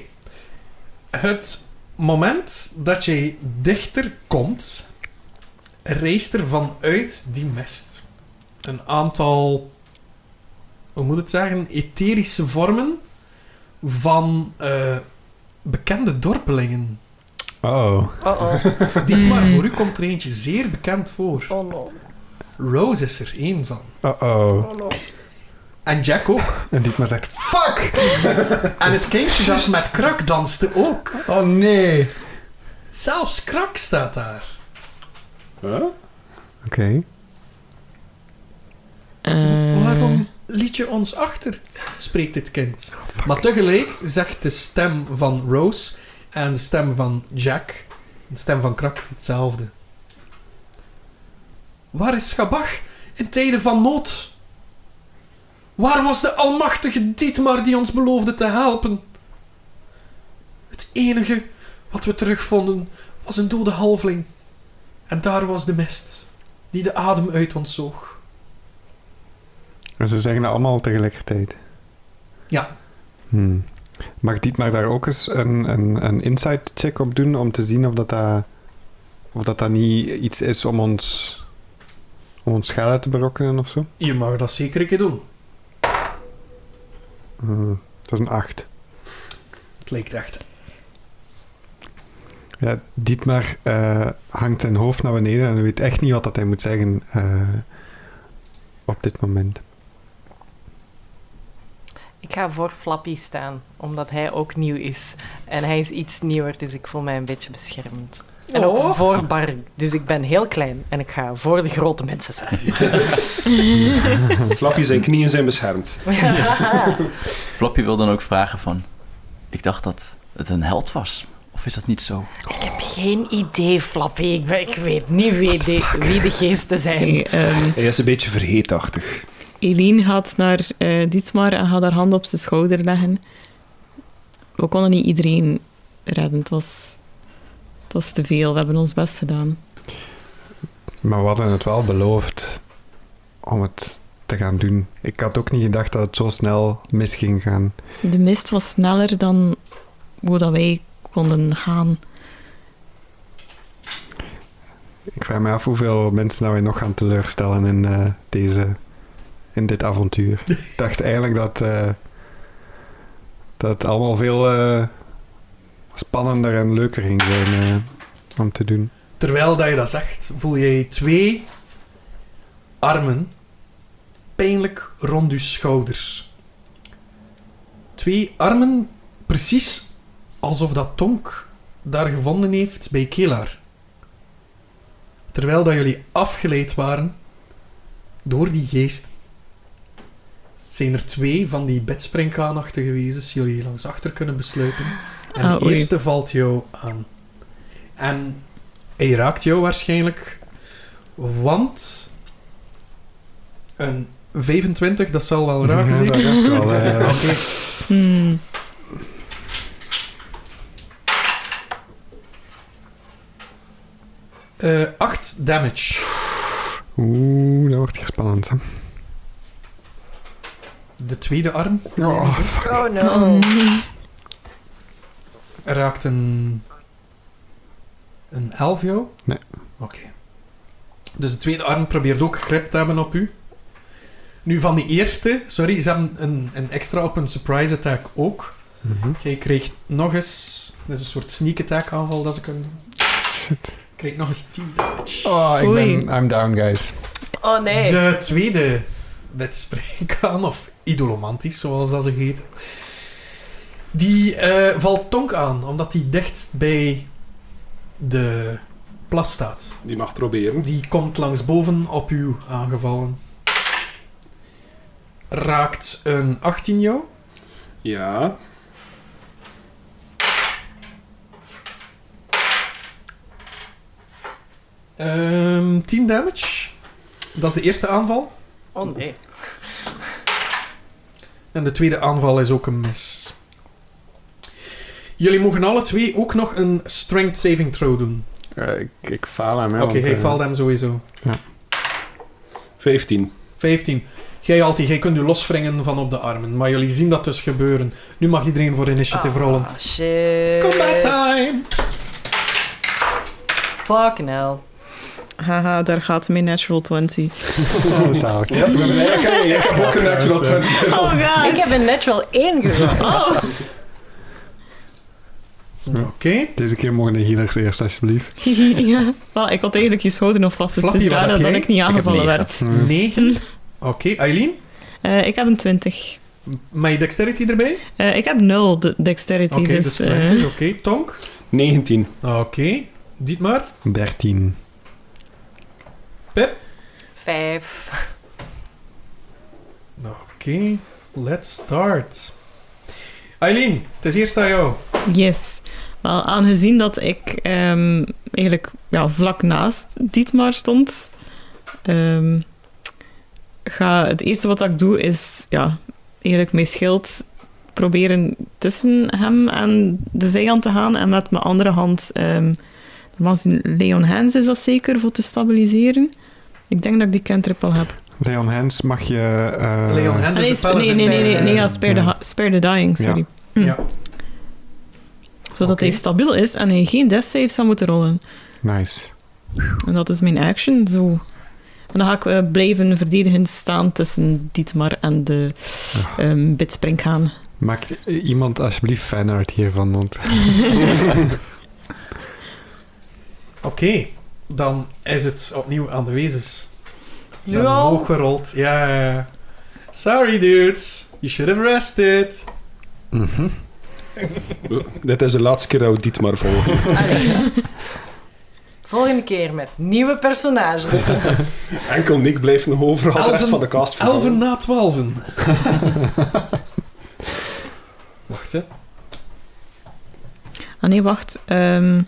Het moment dat jij dichter komt, reist er vanuit die mist een aantal, hoe moet het zeggen, etherische vormen van eh, bekende dorpelingen.
Oh,
Oh-oh.
Dit maar voor u komt er eentje zeer bekend voor.
Oh no.
Rose is er één van.
oh, oh.
Oh no.
En Jack ook.
En Dietmar zegt, fuck!
En het kindje dat met krak danste ook.
Oh nee! Oké.
Zelfs krak staat daar.
Eh,
Waarom liet je ons achter? spreekt dit kind. Maar tegelijk zegt de stem van Rose en de stem van Jack, de stem van krak, hetzelfde. Waar is Schabach in tijden van nood? Waar was de almachtige Dietmar die ons beloofde te helpen? Het enige wat we terugvonden was een dode halfling. En daar was de mist, die de adem uit ons zoog.
En ze zeggen dat allemaal tegelijkertijd.
Ja.
Hmm. Mag Dietmar daar ook eens een, een, een insight check op doen om te zien of dat, dat, of dat, dat niet iets is om ons, om ons schade te berokkenen of zo?
Je mag dat zeker een keer doen.
Hmm. Dat is een 8.
Het lijkt echt.
Ja, Dietmar eh, hangt zijn hoofd naar beneden en hij weet echt niet wat dat hij moet zeggen eh, op dit moment.
Ik ga voor Flappy staan, omdat hij ook nieuw is. En hij is iets nieuwer, dus ik voel mij een beetje beschermd. En ook
Oh.
voor Barry, dus ik ben heel klein en ik ga voor de grote mensen staan.
Flappy zijn knieën zijn beschermd.
Floppy wil dan ook vragen van... Ik dacht dat het een held was. Of is dat niet zo?
Ik heb geen idee, Flappy. Ik, ben- ik weet niet wie de, wie de geesten zijn.
Oké, ehm,
Hij is een beetje vergeetachtig.
Eline gaat naar eh, Dietmar en gaat haar hand op zijn schouder leggen. We konden niet iedereen redden. Het was, het was te veel. We hebben ons best gedaan.
Maar we hadden het wel beloofd om het te gaan doen. Ik had ook niet gedacht dat het zo snel mis ging gaan.
De mist was sneller dan hoe dat wij konden gaan.
Ik vraag me af hoeveel mensen nou wij nog gaan teleurstellen in, eh, deze, in dit avontuur. Ik dacht eigenlijk dat, eh, dat het allemaal veel eh, spannender en leuker ging zijn eh, om te doen.
Terwijl dat je dat zegt, voel jij twee armen pijnlijk rond je schouders. Twee armen precies alsof dat Tonk daar gevonden heeft bij Kelaar. Terwijl dat jullie afgeleid waren door die geest. Zijn er twee van die bedspringkaanachtige wezens jullie langs achter kunnen besluiten. En
Ah,
de
oei.
eerste valt jou aan. En hij raakt jou waarschijnlijk. Want een 25, dat zal wel raken,
Ja,
zeker?
dat is wel,
Oké.
eh,
Hmm.
eh 8 damage.
Oeh, dat wordt hier spannend, hè.
De tweede arm
Oh,
Oh
Oh nee.
raakt een. een 11 jou?
Nee.
Oké. Dus de tweede arm probeert ook grip te hebben op u. Nu van die eerste, sorry, ze hebben een, een extra op een surprise attack ook.
Mhm.
Jij kreeg nog eens. Dat is een soort sneak attack aanval dat ze kunnen doen.
Shit.
Kreeg nog eens 10 damage.
Oh, ik
Oei.
ben... I'm down, guys.
Oh nee.
De tweede dit springkaan, of idolomantisch zoals dat ze heet, die eh, valt Tonk aan, omdat die dichtst bij de plas staat.
Die mag proberen.
Die komt langsboven op u aangevallen. Raakt een 18 jou.
Ja.
Ehm, 10 damage. Dat is de eerste aanval.
Oh nee.
En de tweede aanval is ook een mis. Jullie mogen alle twee ook nog een strength saving throw doen.
Eh, ik, ik faal hem, hè.
Oké,
want,
hij
eh,
faalt hem sowieso.
15.
15. Jij, Alti, jij kunt u loswringen van op de armen. Maar jullie zien dat dus gebeuren. Nu mag iedereen voor initiative rollen.
Ah, shit.
Eh.
Combat time!
Fucking hell.
Haha, daar gaat mijn natural 20.
Oh, zalig.
Ja, ik ben blij dat ik aan je eerste ook een natural
eh,
20
Oh god.
Ik heb een natural 1 gerold.
Oké.
Deze keer mogen de healers eerst, alsjeblieft.
ja. Wel, ik had eigenlijk je schouder nog vast, dus
Flappy,
het is
wat
raar
heb
dat,
jij?
ik niet aangevallen
negen.
werd.
Hmm.
9. Oké, Eileen.
Eh, ik heb een 20.
Met je dexterity erbij? Oké,
Eh, ik heb 0 de dexterity,
dus,
dus... eh,
20. Oké, Tonk.
19.
Oké, Dietmar.
13.
Vijf.
Oké, let's start. Eileen, het is eerst aan jou.
eh, Yes. Wel, aangezien dat ik ehm, eigenlijk ja, vlak naast Dietmar stond, ehm, ga het eerste wat ik doe is ja, eigenlijk mijn schild proberen tussen hem en de vijand te gaan en met mijn andere hand ehm normaal gezien Leon Hens is dat zeker voor te stabiliseren. Ik denk dat ik die cantrip al heb.
Leon Hens mag je... eh,
Leon Henders dus
nee,
is
sp-
een
nee,
paladin.
nee, nee, nee, nee, ja,
Eh,
spare, the,
Ja.
Hi- spare the dying, sorry. Hm.
Ja.
Zodat
Oké.
hij stabiel is en hij geen death saves zou moeten rollen.
Nice.
En dat is mijn action, zo. En dan ga ik eh, blijven verdedigend staan tussen Dietmar en de
Ah.
ehm bitsprinkhaan.
Maak eh, iemand alsjeblieft fanart hiervan, want...
Oké, dan is het opnieuw aan de wezens. Ze
Nu
hebben
al?
omhoog gerold. Ja, ja, ja. Sorry dudes, you should have rested.
Mhm.
Dit is de laatste keer dat we Dietmar volgen.
Allee. Volgende keer met nieuwe personages.
Enkel Nick blijft nog overal de rest
Elven-
van de cast vervangen.
Elven na twaalfen. Wacht hè.
Ah nee, wacht. Ehm,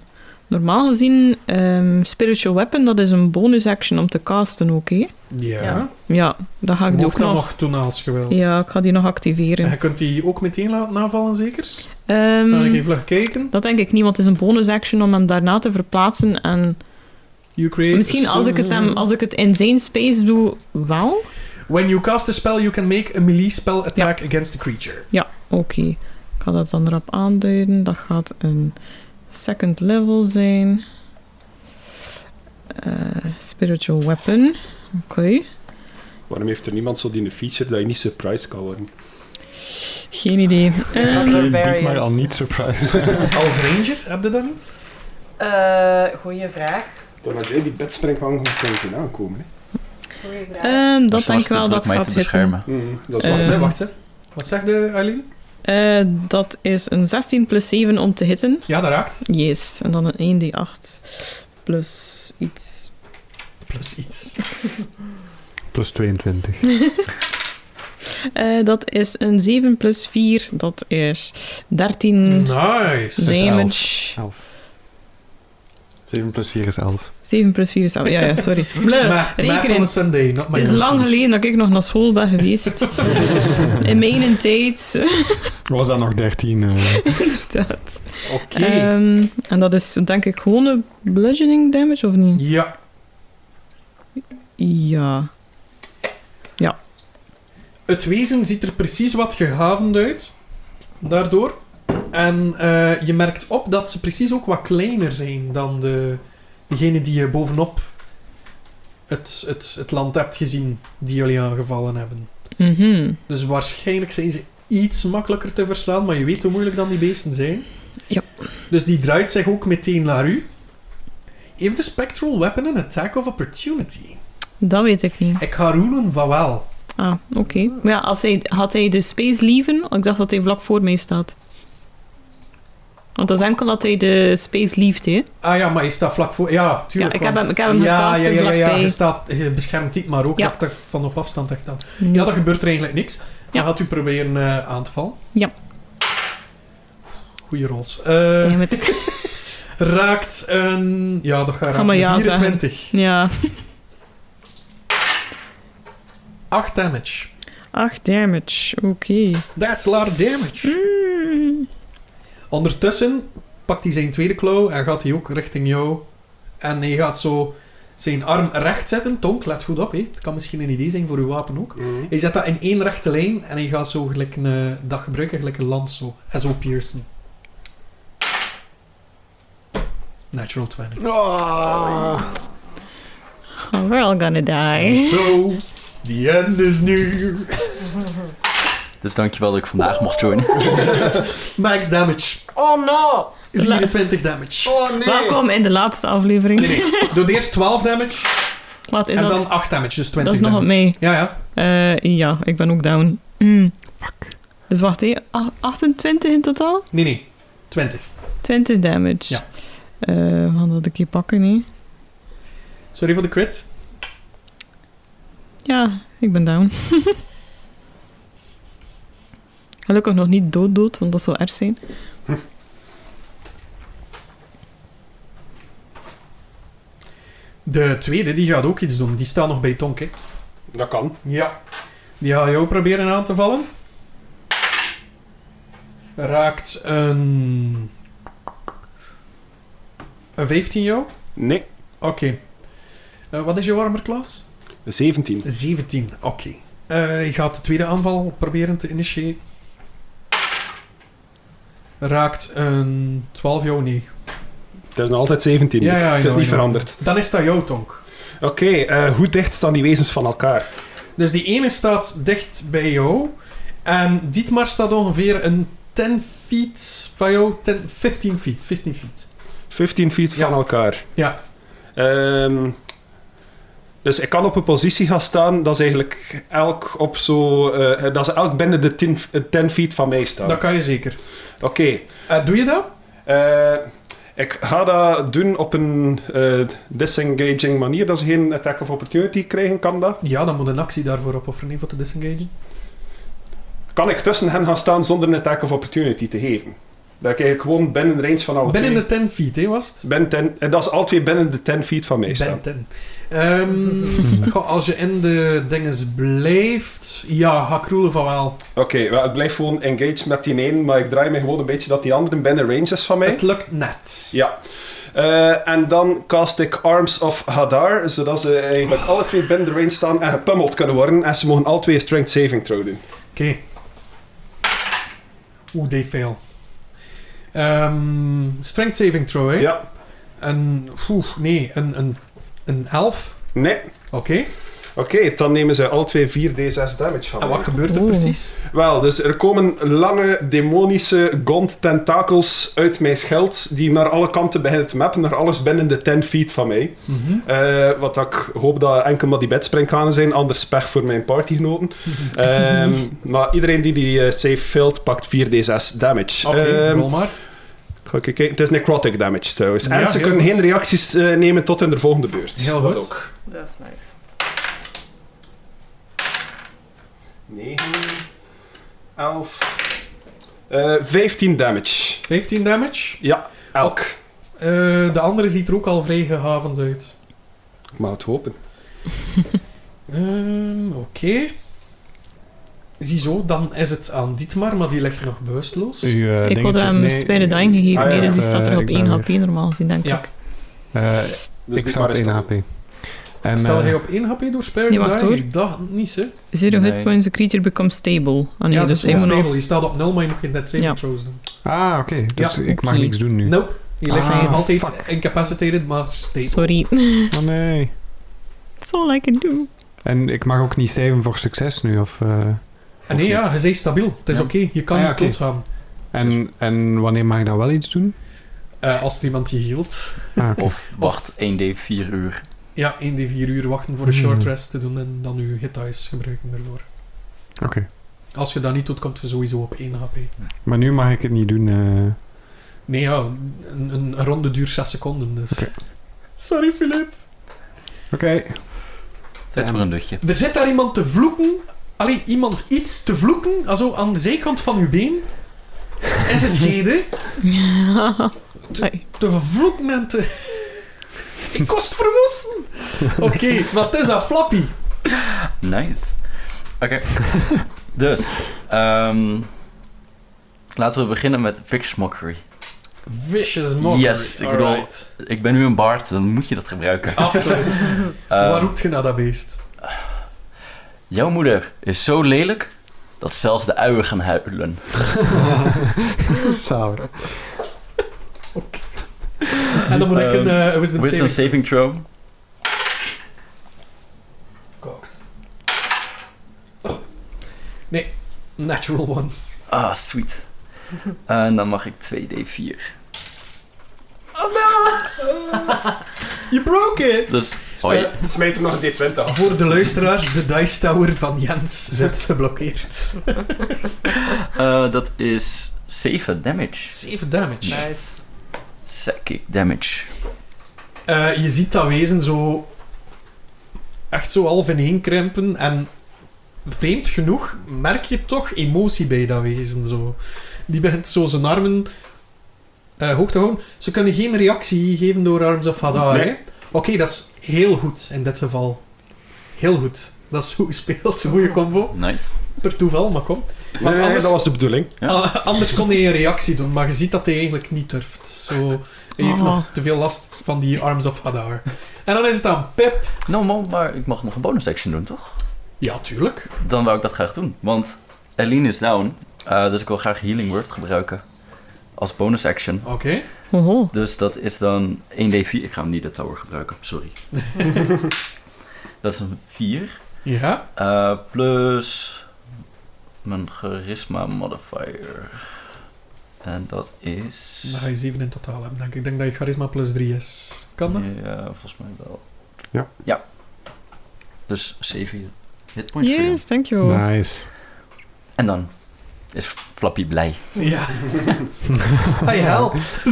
normaal gezien, ehm, Spiritual Weapon, dat is een bonus action om te casten ook, hè?
Ja.
Ja.
Ja, dat ga ik
Mocht
die ook
dat
nog...
nog toenaalsgeweld.
Ja, ik ga die nog activeren.
En je kunt die ook meteen laten navallen, zeker?
Ehm,
Laat ik even vlug kijken.
dat denk ik niet, want het is een bonus action om hem daarna te verplaatsen. En
You create
misschien
a
als ik, het hem,
summon-
als ik het in zijn space doe, wel?
When you cast a spell, you can make a melee spell attack against the creature.
Oké, ik ga dat dan erop aanduiden. Dat gaat een second level zijn. Eh, spiritual weapon. Oké.
Waarom heeft er niemand zo die een feature dat je niet surprised kan worden?
Geen idee.
Is dat
Ehm,
er-
Ik
Barbarians.
maar al niet surprised.
Als ranger, heb je dat niet?
Eh goeie vraag.
Doordat jij die bedspringgang kan zien aankomen.
Goeie vraag.
ehm, dat
Dus
denk ik
was
wel
het
dat
om mij
gaat
te
hitten.
beschermen.
Mhm, Dat is
Eh.
Wacht
wat.
hè, wacht hè. Wat zegt de Eileen?
Eh, dat is een 16 plus 7 om te hitten.
Ja, dat raakt.
Yes. En dan een 1d8 plus iets.
Plus iets.
Plus 22.
Eh, dat is een 7 plus 4. Dat is 13 Mm.
Nice.
elf.
damage.
Elf. 7 plus 4 is 11.
7 plus 4 is 11. Ja, ja, sorry.
Maar math on a
eh, rekenen.
Sunday, not my
Het is
own
lang
thing.
geleden dat ik nog naar school ben geweest. In mijn tijd.
Was dat nog 13? eh?
Inderdaad.
Oké.
Ehm, en dat is denk ik gewoon een bludgeoning damage, of niet?
ja.
Ja.
Het wezen ziet er precies wat gehavend uit. Daardoor. En eh, je merkt op dat ze precies ook wat kleiner zijn dan de, degene die je bovenop het, het, het land hebt gezien die jullie aangevallen hebben.
Mhm.
Dus waarschijnlijk zijn ze iets makkelijker te verslaan, maar je weet hoe moeilijk dan die beesten zijn.
Ja.
Dus die draait zich ook meteen naar u. Heeft de Spectral Weapon een attack of opportunity?
Dat weet ik niet.
Ik ga roelen van wel.
Ah, oké. Maar ja, als hij, had hij de space lieven? Ik dacht dat hij vlak voor mij staat. Want dat is enkel dat hij de space lieft, hè?
Ah ja, maar je staat vlak voor... Ja, tuurlijk.
Ja, ik heb
want-
hem- ik heb hem
ja,
gecast
ja,
en
ja, ja, ja,
vlakbij.
je, staat, je beschermt dit, maar ook
Ja.
dat ik dat van op afstand heb gedaan. Ja, dat gebeurt er eigenlijk niks. Dan
Ja.
gaat u proberen eh, aan te vallen.
Ja.
Goeie rols. Eh,
Damn it.
raakt een... Ja, dat gaat
Ga maar
raken.
ja
24.
Ja.
8 damage.
8 damage. Oké.
That's a lot of damage. Hmm. Ondertussen pakt hij zijn tweede klauw en gaat hij ook richting jou. En hij gaat zo zijn arm recht zetten. Tonk, let goed op. Hé. Het kan misschien een idee zijn voor uw wapen ook. Hij zet dat in één rechte lijn en hij gaat zo gelijk een, eh, dat gebruiken, gelijk een lans zo. En zo piercen. Natural 20.
Oh, we're all gonna die.
So, the end is near.
Dus dankjewel dat ik vandaag mocht joinen.
Max damage.
Oh no!
24 damage.
Oh nee!
Welkom in de laatste aflevering.
Nee, nee. Doe eerst 12 damage
Wat is
en
dat?
dan 8 damage, dus 20
Dat is nog op
damage.
mij.
Ja, ja.
Eh, ja, ik ben ook down. Mm. Fuck. Dus wacht, hé. a- 28 in totaal?
Nee, nee. 20.
20 damage.
Ja.
Eh, we gaan dat een keer pakken, hè.
Sorry voor de crit.
Ja, ik ben down. Gelukkig nog niet dood-dood, want dat zou erg zijn.
De tweede, die gaat ook iets doen. Die staat nog bij Tonk, hè.
Dat kan.
Ja. Die gaat jou proberen aan te vallen. Raakt een... Een 15 jou?
Nee,
Oké. Eh, wat is jouw armor class?
17.
17, oké. Eh, je gaat de tweede aanval proberen te initiëren. Raakt een 12 jou? Nee.
Het is nog altijd 17.
Ja, ja,
het is
ja,
niet
ja.
veranderd.
Dan is dat jouw tonk.
Oké, eh, hoe dicht staan die wezens van elkaar?
Dus die ene staat dicht bij jou. En Dietmar staat ongeveer een 10 feet van jou. 10, 15 feet. 15 feet.
15 feet
Ja.
van elkaar.
Ja.
Ehm, dus ik kan op een positie gaan staan dat ze eigenlijk elk op zo... eh, dat ze elk binnen de 10, eh, 10 feet van mij staan.
Dat kan je zeker.
Oké.
Eh, doe je dat?
Eh, ik ga dat doen op een eh, disengaging manier, dat ze geen attack of opportunity krijgen, kan dat?
Ja, dan moet een actie daarvoor opofferen hè, voor te disengagen.
Kan ik tussen hen gaan staan zonder een attack of opportunity te geven? Dat ik eigenlijk gewoon binnen range van alle
Binnen
twee...
de 10 feet, hè, was het?
Ben ten, en dat is al twee binnen de 10 feet van mij
Ben
staan.
10. Ehm, goh, als je in de dinges blijft... Ja, ga kroelen van wel.
Oké, wel, ik blijf gewoon engaged met die ene, maar ik draai me gewoon een beetje dat die andere binnen range is van mij.
Het lukt net.
Ja. Eh, en dan cast ik Arms of Hadar, zodat ze eigenlijk alle twee binnen de range staan en gepummeld kunnen worden. En ze mogen alle twee een strength saving throw doen.
Oké. Oeh, they fail. Ehm, strength saving throw, hè?
Ja.
Een... Oeh, nee. Een, een, een elf.
Nee.
Oké.
Oké, dan nemen ze alle twee 4d6 damage van
En
mij.
wat gebeurt er
Oeh.
precies?
Wel, dus er komen lange demonische gond tentakels uit mijn schild die naar alle kanten beginnen te mappen, naar alles binnen de 10 feet van mij.
Mhm.
Eh, wat dat ik hoop dat enkel maar die bedspringkanen zijn, anders pech voor mijn partygenoten. Ehm, maar iedereen die die eh, save failed, pakt 4d6 damage.
Oké,
Eh,
Ehm,
rol maar.
ga ik even kijken. Het is necrotic damage trouwens.
Ja,
en ze
heel
kunnen
goed.
geen reacties eh, nemen tot in de volgende beurt.
Heel
Dat
goed.
ook.
Dat is nice.
9, 11, eh, 15 damage.
15 damage.
Ja, elk.
Eh, de andere ziet er ook al vrij gehavend uit.
Ik mag het hopen.
Ehm, Oké. Ziezo, dan is het aan Dietmar, maar die ligt nog bewusteloos.
Uw, eh,
Ik had
dingetje-
hem
nee,
bij de dying gegeven,
Ah, ja,
nee, dus die
eh,
staat er
ik
op
ben
1
weer.
HP normaal gezien, denk
Ja.
ik.
Eh,
Dus
ik
dit
sta op
maar eens
1
dan.
HP. En,
Stel
eh,
hij op 1 HP door Spare
Nee, wacht,
die dag niet, hè?
Zero
Nee.
hit points, a creature becomes stable. Ah nee,
ja,
dus
dat is
helemaal
onstable.
nog...
Je staat op 0, maar je mag geen dead saving
Ja.
throws doen.
Ah, oké. Dus
Ja.
ik mag
Oké.
niks doen nu.
Nope. Je ligt
Ah,
nog altijd
fuck.
incapacitated, maar stable.
Sorry.
Oh, nee.
That's all I can do.
En ik mag ook niet saven voor succes nu, of... eh,
Ah, nee, ja, je bent stabiel. Het is
Ja.
oké. Je kan
Ah, ja,
niet
oké.
doodgaan.
en, en wanneer mag ik dan wel iets doen?
Eh, als er iemand je hield.
Ah, oké.
Of wacht 1d4 uur.
Ja, 1 d 4 uur wachten voor een
Hmm.
short rest te doen en dan je hit dice gebruiken ervoor.
Oké.
Als je dat niet doet, komt je sowieso op 1 HP.
Maar nu mag ik het niet doen. eh.
Nee, ja, een, een- een ronde duurt 6 seconden, dus...
Oké.
Sorry, Filip.
Oké.
Tijd voor een luchtje.
Er zit daar iemand te vloeken. Allee, iemand iets te vloeken. Also, aan de zijkant van uw been. En ze scheden.
Ai.
te vloeken en te... Ik kost verwoesten. Oké, maar het is een flappy.
Nice. Oké. dus, ehm, laten we beginnen met Vix Mockery.
Vicious mockery.
Yes, ik bedoel-
Alright.
Ik ben nu een bard, dan moet je dat gebruiken.
Absoluut.
Ehm,
Waar roept je naar dat beest?
Jouw moeder is zo lelijk dat zelfs de uien gaan huilen.
Zalig.
En dan moet ik een eh, wisdom
Wisdom
saving...
saving throw.
Oh. Natural one.
Ah, sweet. En dan mag ik 2d4.
You broke it!
Dus, sorry.
Eh,
Smijt er nog een d20 af.
voor de luisteraars, de dice tower van Jens zit geblokkeerd.
Eh, dat is 7 damage.
7 damage.
Nice.
Psychic damage.
Eh, je ziet dat wezen zo echt zo half ineenkrimpen en vreemd genoeg merk je toch emotie bij dat wezen zo. Die begint zo zijn armen eh, hoog te houden. Ze kunnen geen reactie geven door Arms of Hadar.
Nee.
hè? Oké, dat is heel goed in dit geval. Heel goed. Dat is goed gespeeld. Een goede combo.
Nice.
Per toeval, maar kom. Want
nee,
anders-
dat was de bedoeling.
Ja.
Ah, anders kon hij een reactie doen, maar je ziet dat hij eigenlijk niet durft. Zo, hij heeft
Oh.
nog te veel last van die Arms of Hadar. En dan is het aan Pip.
Nou, man, maar ik mag nog een bonus action doen, toch?
Ja, tuurlijk.
Dan wou ik dat graag doen. Want Aline is down. eh, dus ik wil graag Healing Word gebruiken. Als bonus action.
Oké.
Hoho.
Dus dat is dan 1d4. Ik ga hem niet de tower gebruiken, sorry. dat is een 4.
Ja.
eh, plus mijn charisma modifier. En dat is.
Dan ga je 7 in totaal hebben, denk ik. Ik denk dat je charisma plus 3 is. Kan dat?
Ja, volgens mij wel.
Ja.
Ja. Dus 7 hitpoints. voor jou.
Yes, dankjewel.
Nice.
En dan is Flappy blij.
Ja. Hij helpt.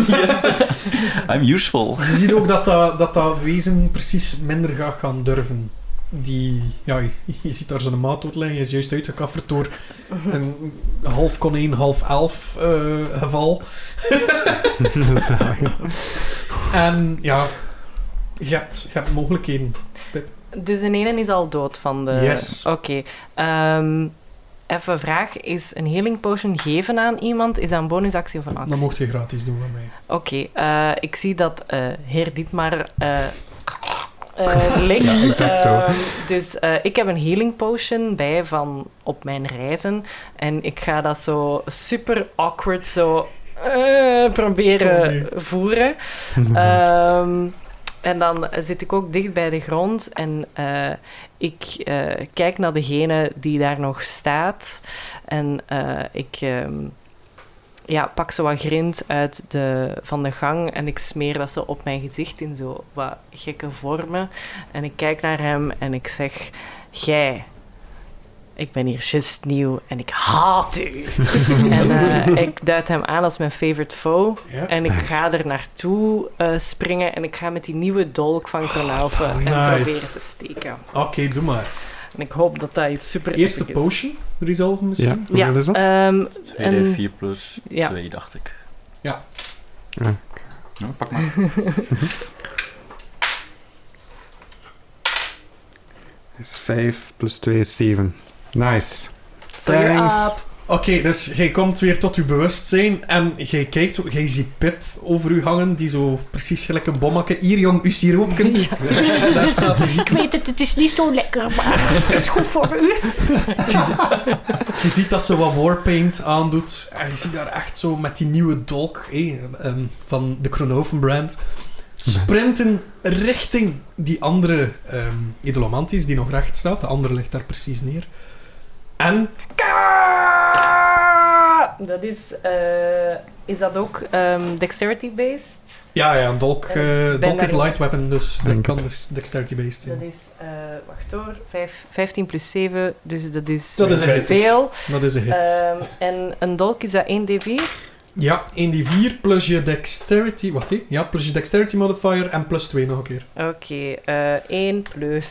I'm useful.
Je ziet ook dat dat, dat dat wezen precies minder gaat gaan durven. Die, ja, je, je ziet daar zo'n maat liggen. Hij is juist uitgekafferd door een half konijn, half elf eh, geval.
Zalig.
En ja, je hebt, je hebt mogelijkheden.
Dus de ene is al dood van de...
Yes.
Oké. Ehm even een vraag. Is een healing potion geven aan iemand, is dat een bonusactie of een actie?
Dat mocht je gratis doen van mij.
Oké. eh, ik zie dat eh heer Dietmar... eh eh, ligt.
Ja, exact zo.
Ehm, dus eh, ik heb een healing potion bij van op mijn reizen. En ik ga dat zo super awkward zo eh, proberen
Oh, nee.
voeren.
Eh,
Ehm, en dan zit ik ook dicht bij de grond en eh, ik eh, kijk naar degene die daar nog staat. En eh, ik ehm, ja, pak zo wat grind uit de, van de gang en ik smeer dat zo op mijn gezicht in zo wat gekke vormen. En ik kijk naar hem en ik zeg: Jij. Ik ben hier just nieuw en ik haat u. en eh, ik duid hem aan als mijn favorite foe.
Ja.
En ik
Nice.
ga er naartoe eh, springen en ik ga met die nieuwe dolk van Kronaufen en
nice.
proberen te steken.
Oké, doe maar.
En ik hoop dat dat iets super
Eerste
epic is.
potion resolven
Ja, Eh.
misschien?
hoeveel is dat?
ehm, En-
2d4 plus
ja.
2, dacht ik.
Ja, pak maar.
is 5 plus 2 is 7. Nice.
So you're
Thanks.
Ah,
up.
Oké, dus jij komt weer tot je bewustzijn en jij kijkt, jij ziet Pip over u hangen, die zo precies gelijk een bommetje. Hier jong, u siroopken. En daar staat hij.
Ik weet het, het is niet zo lekker, maar het is goed voor u.
Je ziet dat ze wat warpaint aandoet. En je ziet daar echt zo met die nieuwe dolk hé, ehm, van de Kronoven brand sprinten richting die andere ehm Edelomantis die nog recht staat. De andere ligt daar precies neer. En
Dat is... eh, is dat ook ehm, dexterity-based?
ja, ja een dolk, eh,
ben
dolk is
daar-
light weapon, dus dat
Denk
kan dus dexterity-based
Dat
zijn.
is... eh, wacht hoor. Vijf- 15 plus 7, dus dat is...
Dat is een hit.
veel.
Dat is een hit.
Ehm, en een dolk is dat 1d4.
Ja, 1 die 4 plus je dexterity. Wat hé? Ja, plus je dexterity modifier en plus 2 nog een keer.
Oké, eh 1 plus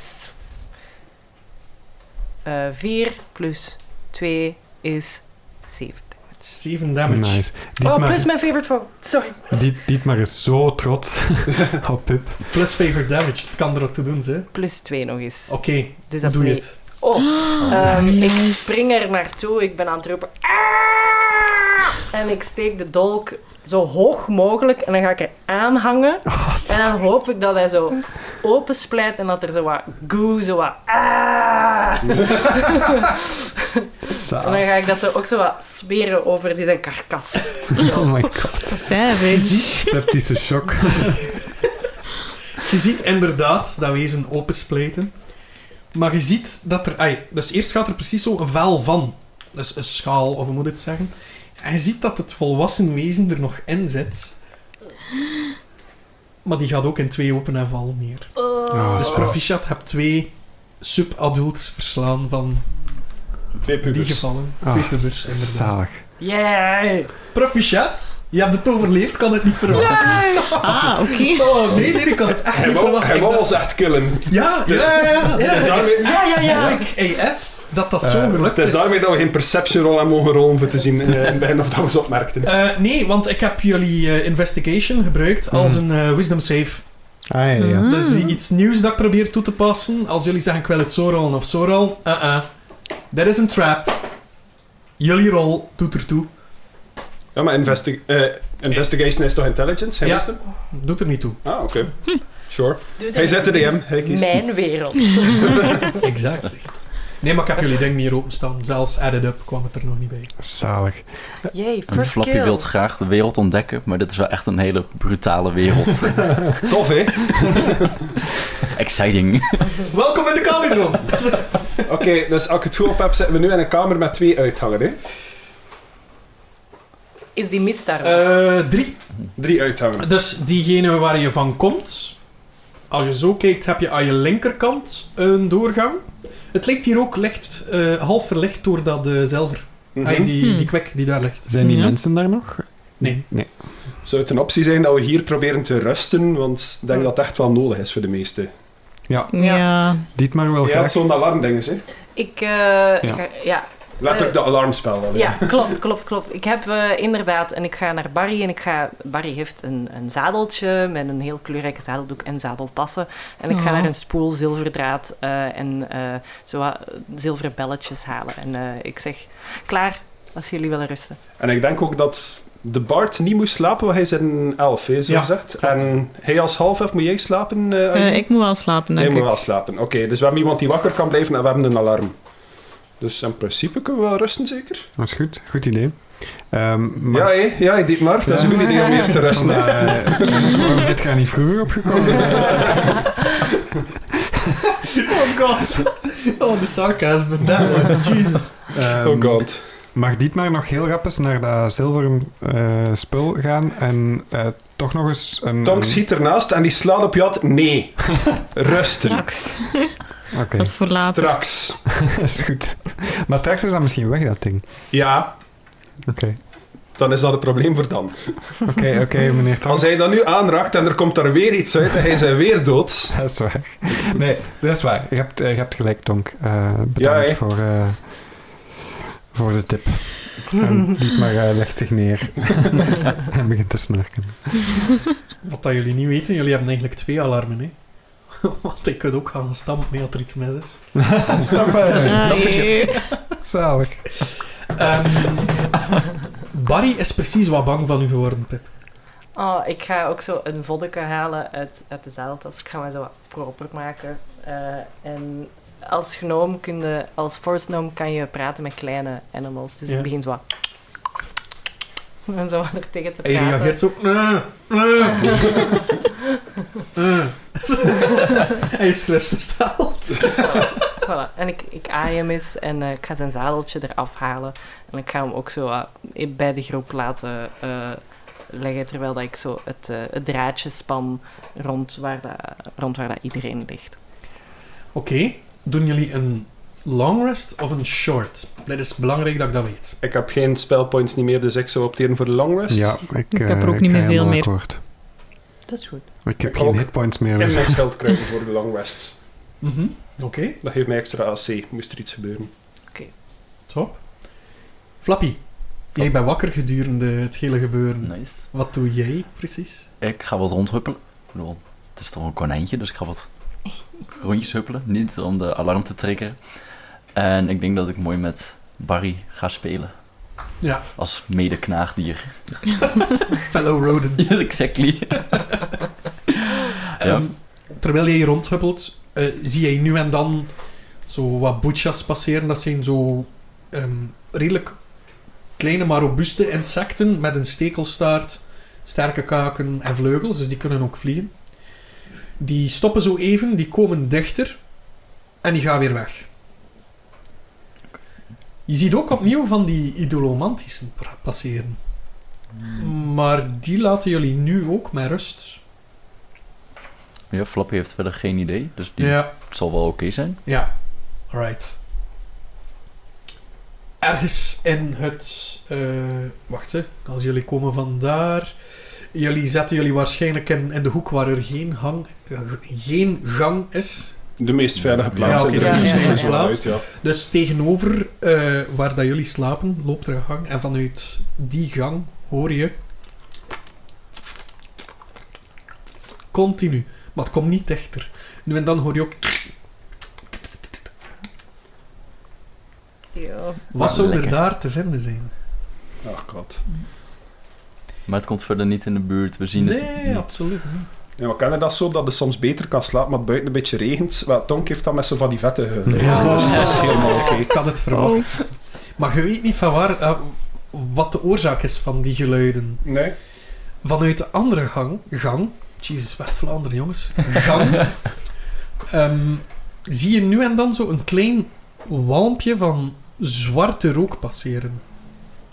4 plus 2 is 7 damage.
7 damage.
Nice.
Oh,
Dietmar,
plus mijn favorite roll. Sorry.
Diet- Dietmar is zo trots Oh, op Pip.
Plus favorite damage. Het kan er wat te doen, hè? Oké,
Plus 2 nog eens. dus dat is
Oh, doe
mee.
het. Ah,
Oh, ehm,
nice.
ik spring er naartoe. Ik ben aan het roepen. "Ah!" En ik steek de dolk zo hoog mogelijk en dan ga ik er aanhangen.
Oh,
en dan hoop ik dat hij zo opensplijt en dat er zo wat goo, zo wat. "Ah!" En dan
Saaf.
ga ik dat zo ook zo wat smeren over die zijn karkas.
Oh my god.
Savage.
Septische shock.
Je ziet inderdaad dat wezen opensplijten. Maar je ziet dat er... ai, dus eerst gaat er precies zo een vel van. Dus een schaal, of hoe moet je het zeggen? En je ziet dat het volwassen wezen er nog in zit. Maar die gaat ook in twee open en val neer.
Oh,
Dus
zo.
Proficiat hebt twee subadults verslaan van
Twee
die
pubers.
gevallen.
Ah,
Twee pubers, inderdaad.
Zalig.
Yeah!
Proficiat, je hebt het overleefd, kan het niet verwachten.
Ah, oké.
Oh nee, nee, ik kan het echt
Hij
niet
wou,
verwachten.
hij
Ik
wou
dacht-
ons echt killen.
Ja, ja, ja. ja.
Het is
Dit is
daarmee-
Ja, ja, ja!
Kijk, AF, dat dat zo
eh,
gelukt dus-
het is daarmee dat we geen perception roll aan mogen rollen om te zien eh, in het begin of dat we ze opmerkten.
Eh, nee, want ik heb jullie eh, investigation gebruikt als
Mm.
een eh, wisdom save.
Ah, ja, ja.
Dat is iets nieuws dat ik probeer toe te passen. Als jullie zeggen ik wil het zo rollen of zo rollen, uh -uh. That is een trap. Jullie rol doet er toe.
Ja, maar investi- eh, investigation is toch intelligence? Hij
Ja.
wist hem?
Doet er niet toe.
Ah, oké.
Hm.
Sure. Hij zet de DM, hij kiest.
Mijn wereld.
Exactly. Nee, maar ik heb jullie ding niet hier openstaan. Zelfs added up kwam het er nog niet bij.
Zalig.
Yay,
En
first
Flappy
kill.
wil graag de wereld ontdekken, maar dit is wel echt een hele brutale wereld.
Tof, hè?
Exciting.
Welkom in de Calidron!
Oké, dus als ik het goed op heb, zitten we nu in een kamer met twee uitgangen, hè?
Is die mist daar?
Eh drie.
Drie uitgangen.
Dus diegene waar je van komt, als je zo kijkt, heb je aan je linkerkant een doorgang. Het ligt hier ook licht, eh, half verlicht door dat eh, zilver.
Mhm.
Ah, die,
Hmm.
die kwek die daar ligt.
Zijn die
Ja.
mensen daar nog?
Nee.
Nee.
Zou het een optie zijn dat we hier proberen te rusten? Want ik denk dat het echt wel nodig is voor de meesten.
Ja,
Ja.
Dietmar
Oh,
wil
Je had
graag.
zo'n alarmding, hè?
Ik, eh, ik
Ja.
ga- ja.
Let op de alarmspel. wel, hè.
Ja, klopt, klopt, klopt. Ik heb eh, inderdaad, en ik ga naar Barry en ik ga, Barry heeft een, een zadeltje met een heel kleurrijke zadeldoek en zadeltassen. En ik ga
Oh.
naar een spoel zilverdraad eh, en eh, zo wat zilveren belletjes halen. En eh, ik zeg, klaar, als jullie willen rusten.
En ik denk ook dat de Bart niet moest slapen, want hij is een elf, hè, zo
Ja,
gezegd.
klopt.
En hij als half elf, moet jij slapen? eh Arjen?
Eh, ik moet wel slapen,
Hij
denk
moet
ik.
wel slapen. Oké, dus we hebben iemand die wakker kan blijven en we hebben een alarm. Dus in principe kunnen we wel rusten, zeker?
Dat is goed. Goed idee. Ehm, maar...
Ja, hé. Ja, dit maar. Dat is een goed idee om eerst te rusten. hè.
Eh, waarom is dit gaan niet vroeger opgekomen?
Oh god. Oh, de sarcasm. That one. Jesus.
Ehm,
Oh god.
Mag Dietmar nog heel rap eens naar dat zilveren eh, spul gaan en eh, toch nog eens een...
ehm, Tonk
een-
schiet ernaast en die slaat op je hand. Nee. Rusten.
Straks.
Oké,
Dat is voor later.
Straks.
dat is goed. Maar straks is dat misschien weg, dat ding.
Ja,
Oké,
dan is dat een probleem voor dan.
oké, oké, meneer Tonk.
Als hij dat nu aanraakt en er komt er weer iets uit en hij is weer dood.
Dat is waar. Nee, dat is waar. Je hebt, eh, je hebt gelijk, Tonk. Eh, bedankt
hè?
voor, eh, voor de tip. En Dietmar eh, legt zich neer en begint te snurken.
Wat dat jullie niet weten, jullie hebben eigenlijk twee alarmen, hè. Want ik kan ook gaan stampen mee als er iets mis is.
Ah,
Zalig.
Ehm, Barry is precies wat bang van u geworden, Pip.
Oh, ik ga ook zo een vodka halen uit, uit de zeiltas. Ik ga mij zo wat proper maken. Eh, en als gnoom kun je, als forest gnome kan je praten met kleine animals. Dus
Ja.
ik begin zo wat... En zo wat er tegen te
Hij
praten.
reageert zo... "Eh, eh, eh." Hij is gerustgesteld.
Voilà. En ik, ik aai hem eens en eh, ik ga zijn zadeltje eraf halen. En ik ga hem ook zo wat in- bij de groep laten eh, leggen. Terwijl dat ik zo het, eh, het draadje span rond waar, dat, rond waar dat iedereen ligt.
Oké, doen jullie een long rest of een short? Dat is belangrijk dat ik dat weet.
Ik heb geen spellpoints niet meer, dus ik zou opteren voor de long rest.
Ja, ik,
Ik heb er
eh,
ook niet
ga
meer veel
helemaal
meer.
akkoord.
Dat is goed.
Ik heb
Ik
geen
ook.
hitpoints meer.
En
dus-
mijn schild krijgen voor de long rest.
Mhm, Oké,
Dat geeft mij extra AC, moest er iets gebeuren.
top. Flappy, jij bent wakker gedurende het hele gebeuren.
Nice.
Wat doe jij precies?
Ik ga wat rondhuppelen. Ik bedoel, het is toch een konijntje, dus ik ga wat rondjes huppelen. Niet om de alarm te triggeren. En ik denk dat ik mooi met Barry ga spelen.
Ja.
Als medeknaagdier.
Fellow rodent.
Yes, exactly. ja.
Ehm, terwijl jij rondhuppelt, eh, zie jij nu en dan zo wat boetjas passeren. Dat zijn zo ehm, redelijk kleine maar robuuste insecten met een stekelstaart, sterke kaken en vleugels, dus die kunnen ook vliegen. Die stoppen zo even, die komen dichter en die gaan weer weg. Je ziet ook opnieuw van die idolomantische pra- passeren. Maar die laten jullie nu ook met rust.
ja, Flappy heeft verder geen idee, dus die
Ja.
zal wel oké zijn.
Ja, alright. Ergens in het. eh, wacht hè, als jullie komen vandaar. Jullie zetten jullie waarschijnlijk in, in de hoek waar er geen, hang, eh, geen gang is.
De meest veilige
Ja,
plaats.
oké,
en
de
er
meest
is
veilige
sowieso wel
plaats.
uit, ja.
Dus tegenover eh, waar dat jullie slapen loopt er een gang. En vanuit die gang hoor je. Continu. Maar het komt niet dichter. Nu en dan hoor je ook. Wat zou er
Lekker.
daar te vinden zijn?
Ach Oh, god.
Maar het komt verder niet in de buurt. We zien het.
Nee,
niet.
absoluut niet.
Ja, maar ken je dat zo, dat je soms beter kan slapen, maar het buiten een beetje regent? Wel, Tonk heeft dat met zo van die vette huilen.
Ja.
Dus dat is helemaal oké.
Ik had het verwacht.
Oh.
Maar je weet niet van waar, eh, wat de oorzaak is van die geluiden.
Nee?
Vanuit de andere gang, gang Jezus, West-Vlaanderen jongens, gang, ehm, zie je nu en dan zo een klein walmpje van zwarte rook passeren.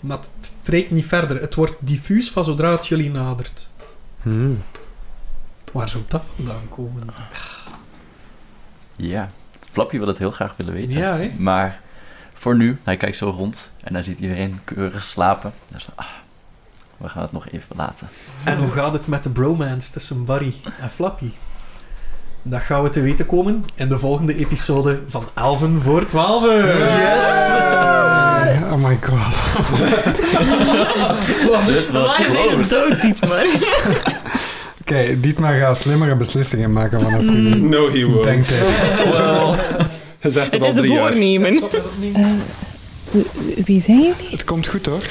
Maar het trekt niet verder. Het wordt diffuus van zodra het jullie nadert.
Hmm.
Waar zou dat vandaan komen?
Ja. Flappy wil het heel graag willen weten.
Ja, hè?
Maar voor nu, hij kijkt zo rond en hij ziet iedereen keurig slapen. Hij zegt, ah, we gaan het nog even laten.
En hoe gaat het met de bromance tussen Barry en Flappy? Dat gaan we te weten komen in de volgende episode van Elven voor 12.
Oh my god.
Dit was
nee,
close.
dood, Dietmar.
Oké, Dietmar gaat slimmere beslissingen maken vanaf
Mm.
nu.
No, he won't.
Denk ik.
Je zegt het
Het
al
is een
drie jaar.
voornemen.
Wie zijn jullie?
Het komt goed hoor.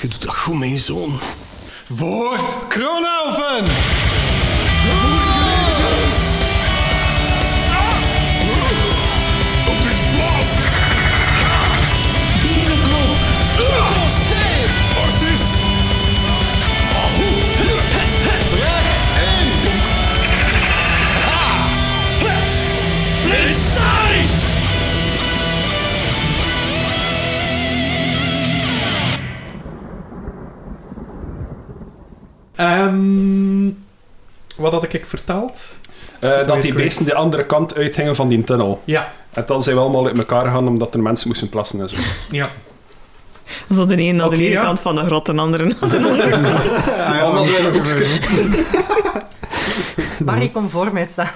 Je doet dat goed, mijn zoon. Voor Kronelven! Blitzaris!
Ehm, wat had ik vertaald?
Eh, dat die beesten de andere kant uithingen van die tunnel.
Ja,
En dan zijn we allemaal uit elkaar gegaan omdat er mensen moesten plassen en zo.
ja.
Zo de ene aan
Oké,
de ene
ja.
kant van de grot en de andere aan de
Allemaal zo in een hoekje.
Barry, kom voor mij staan.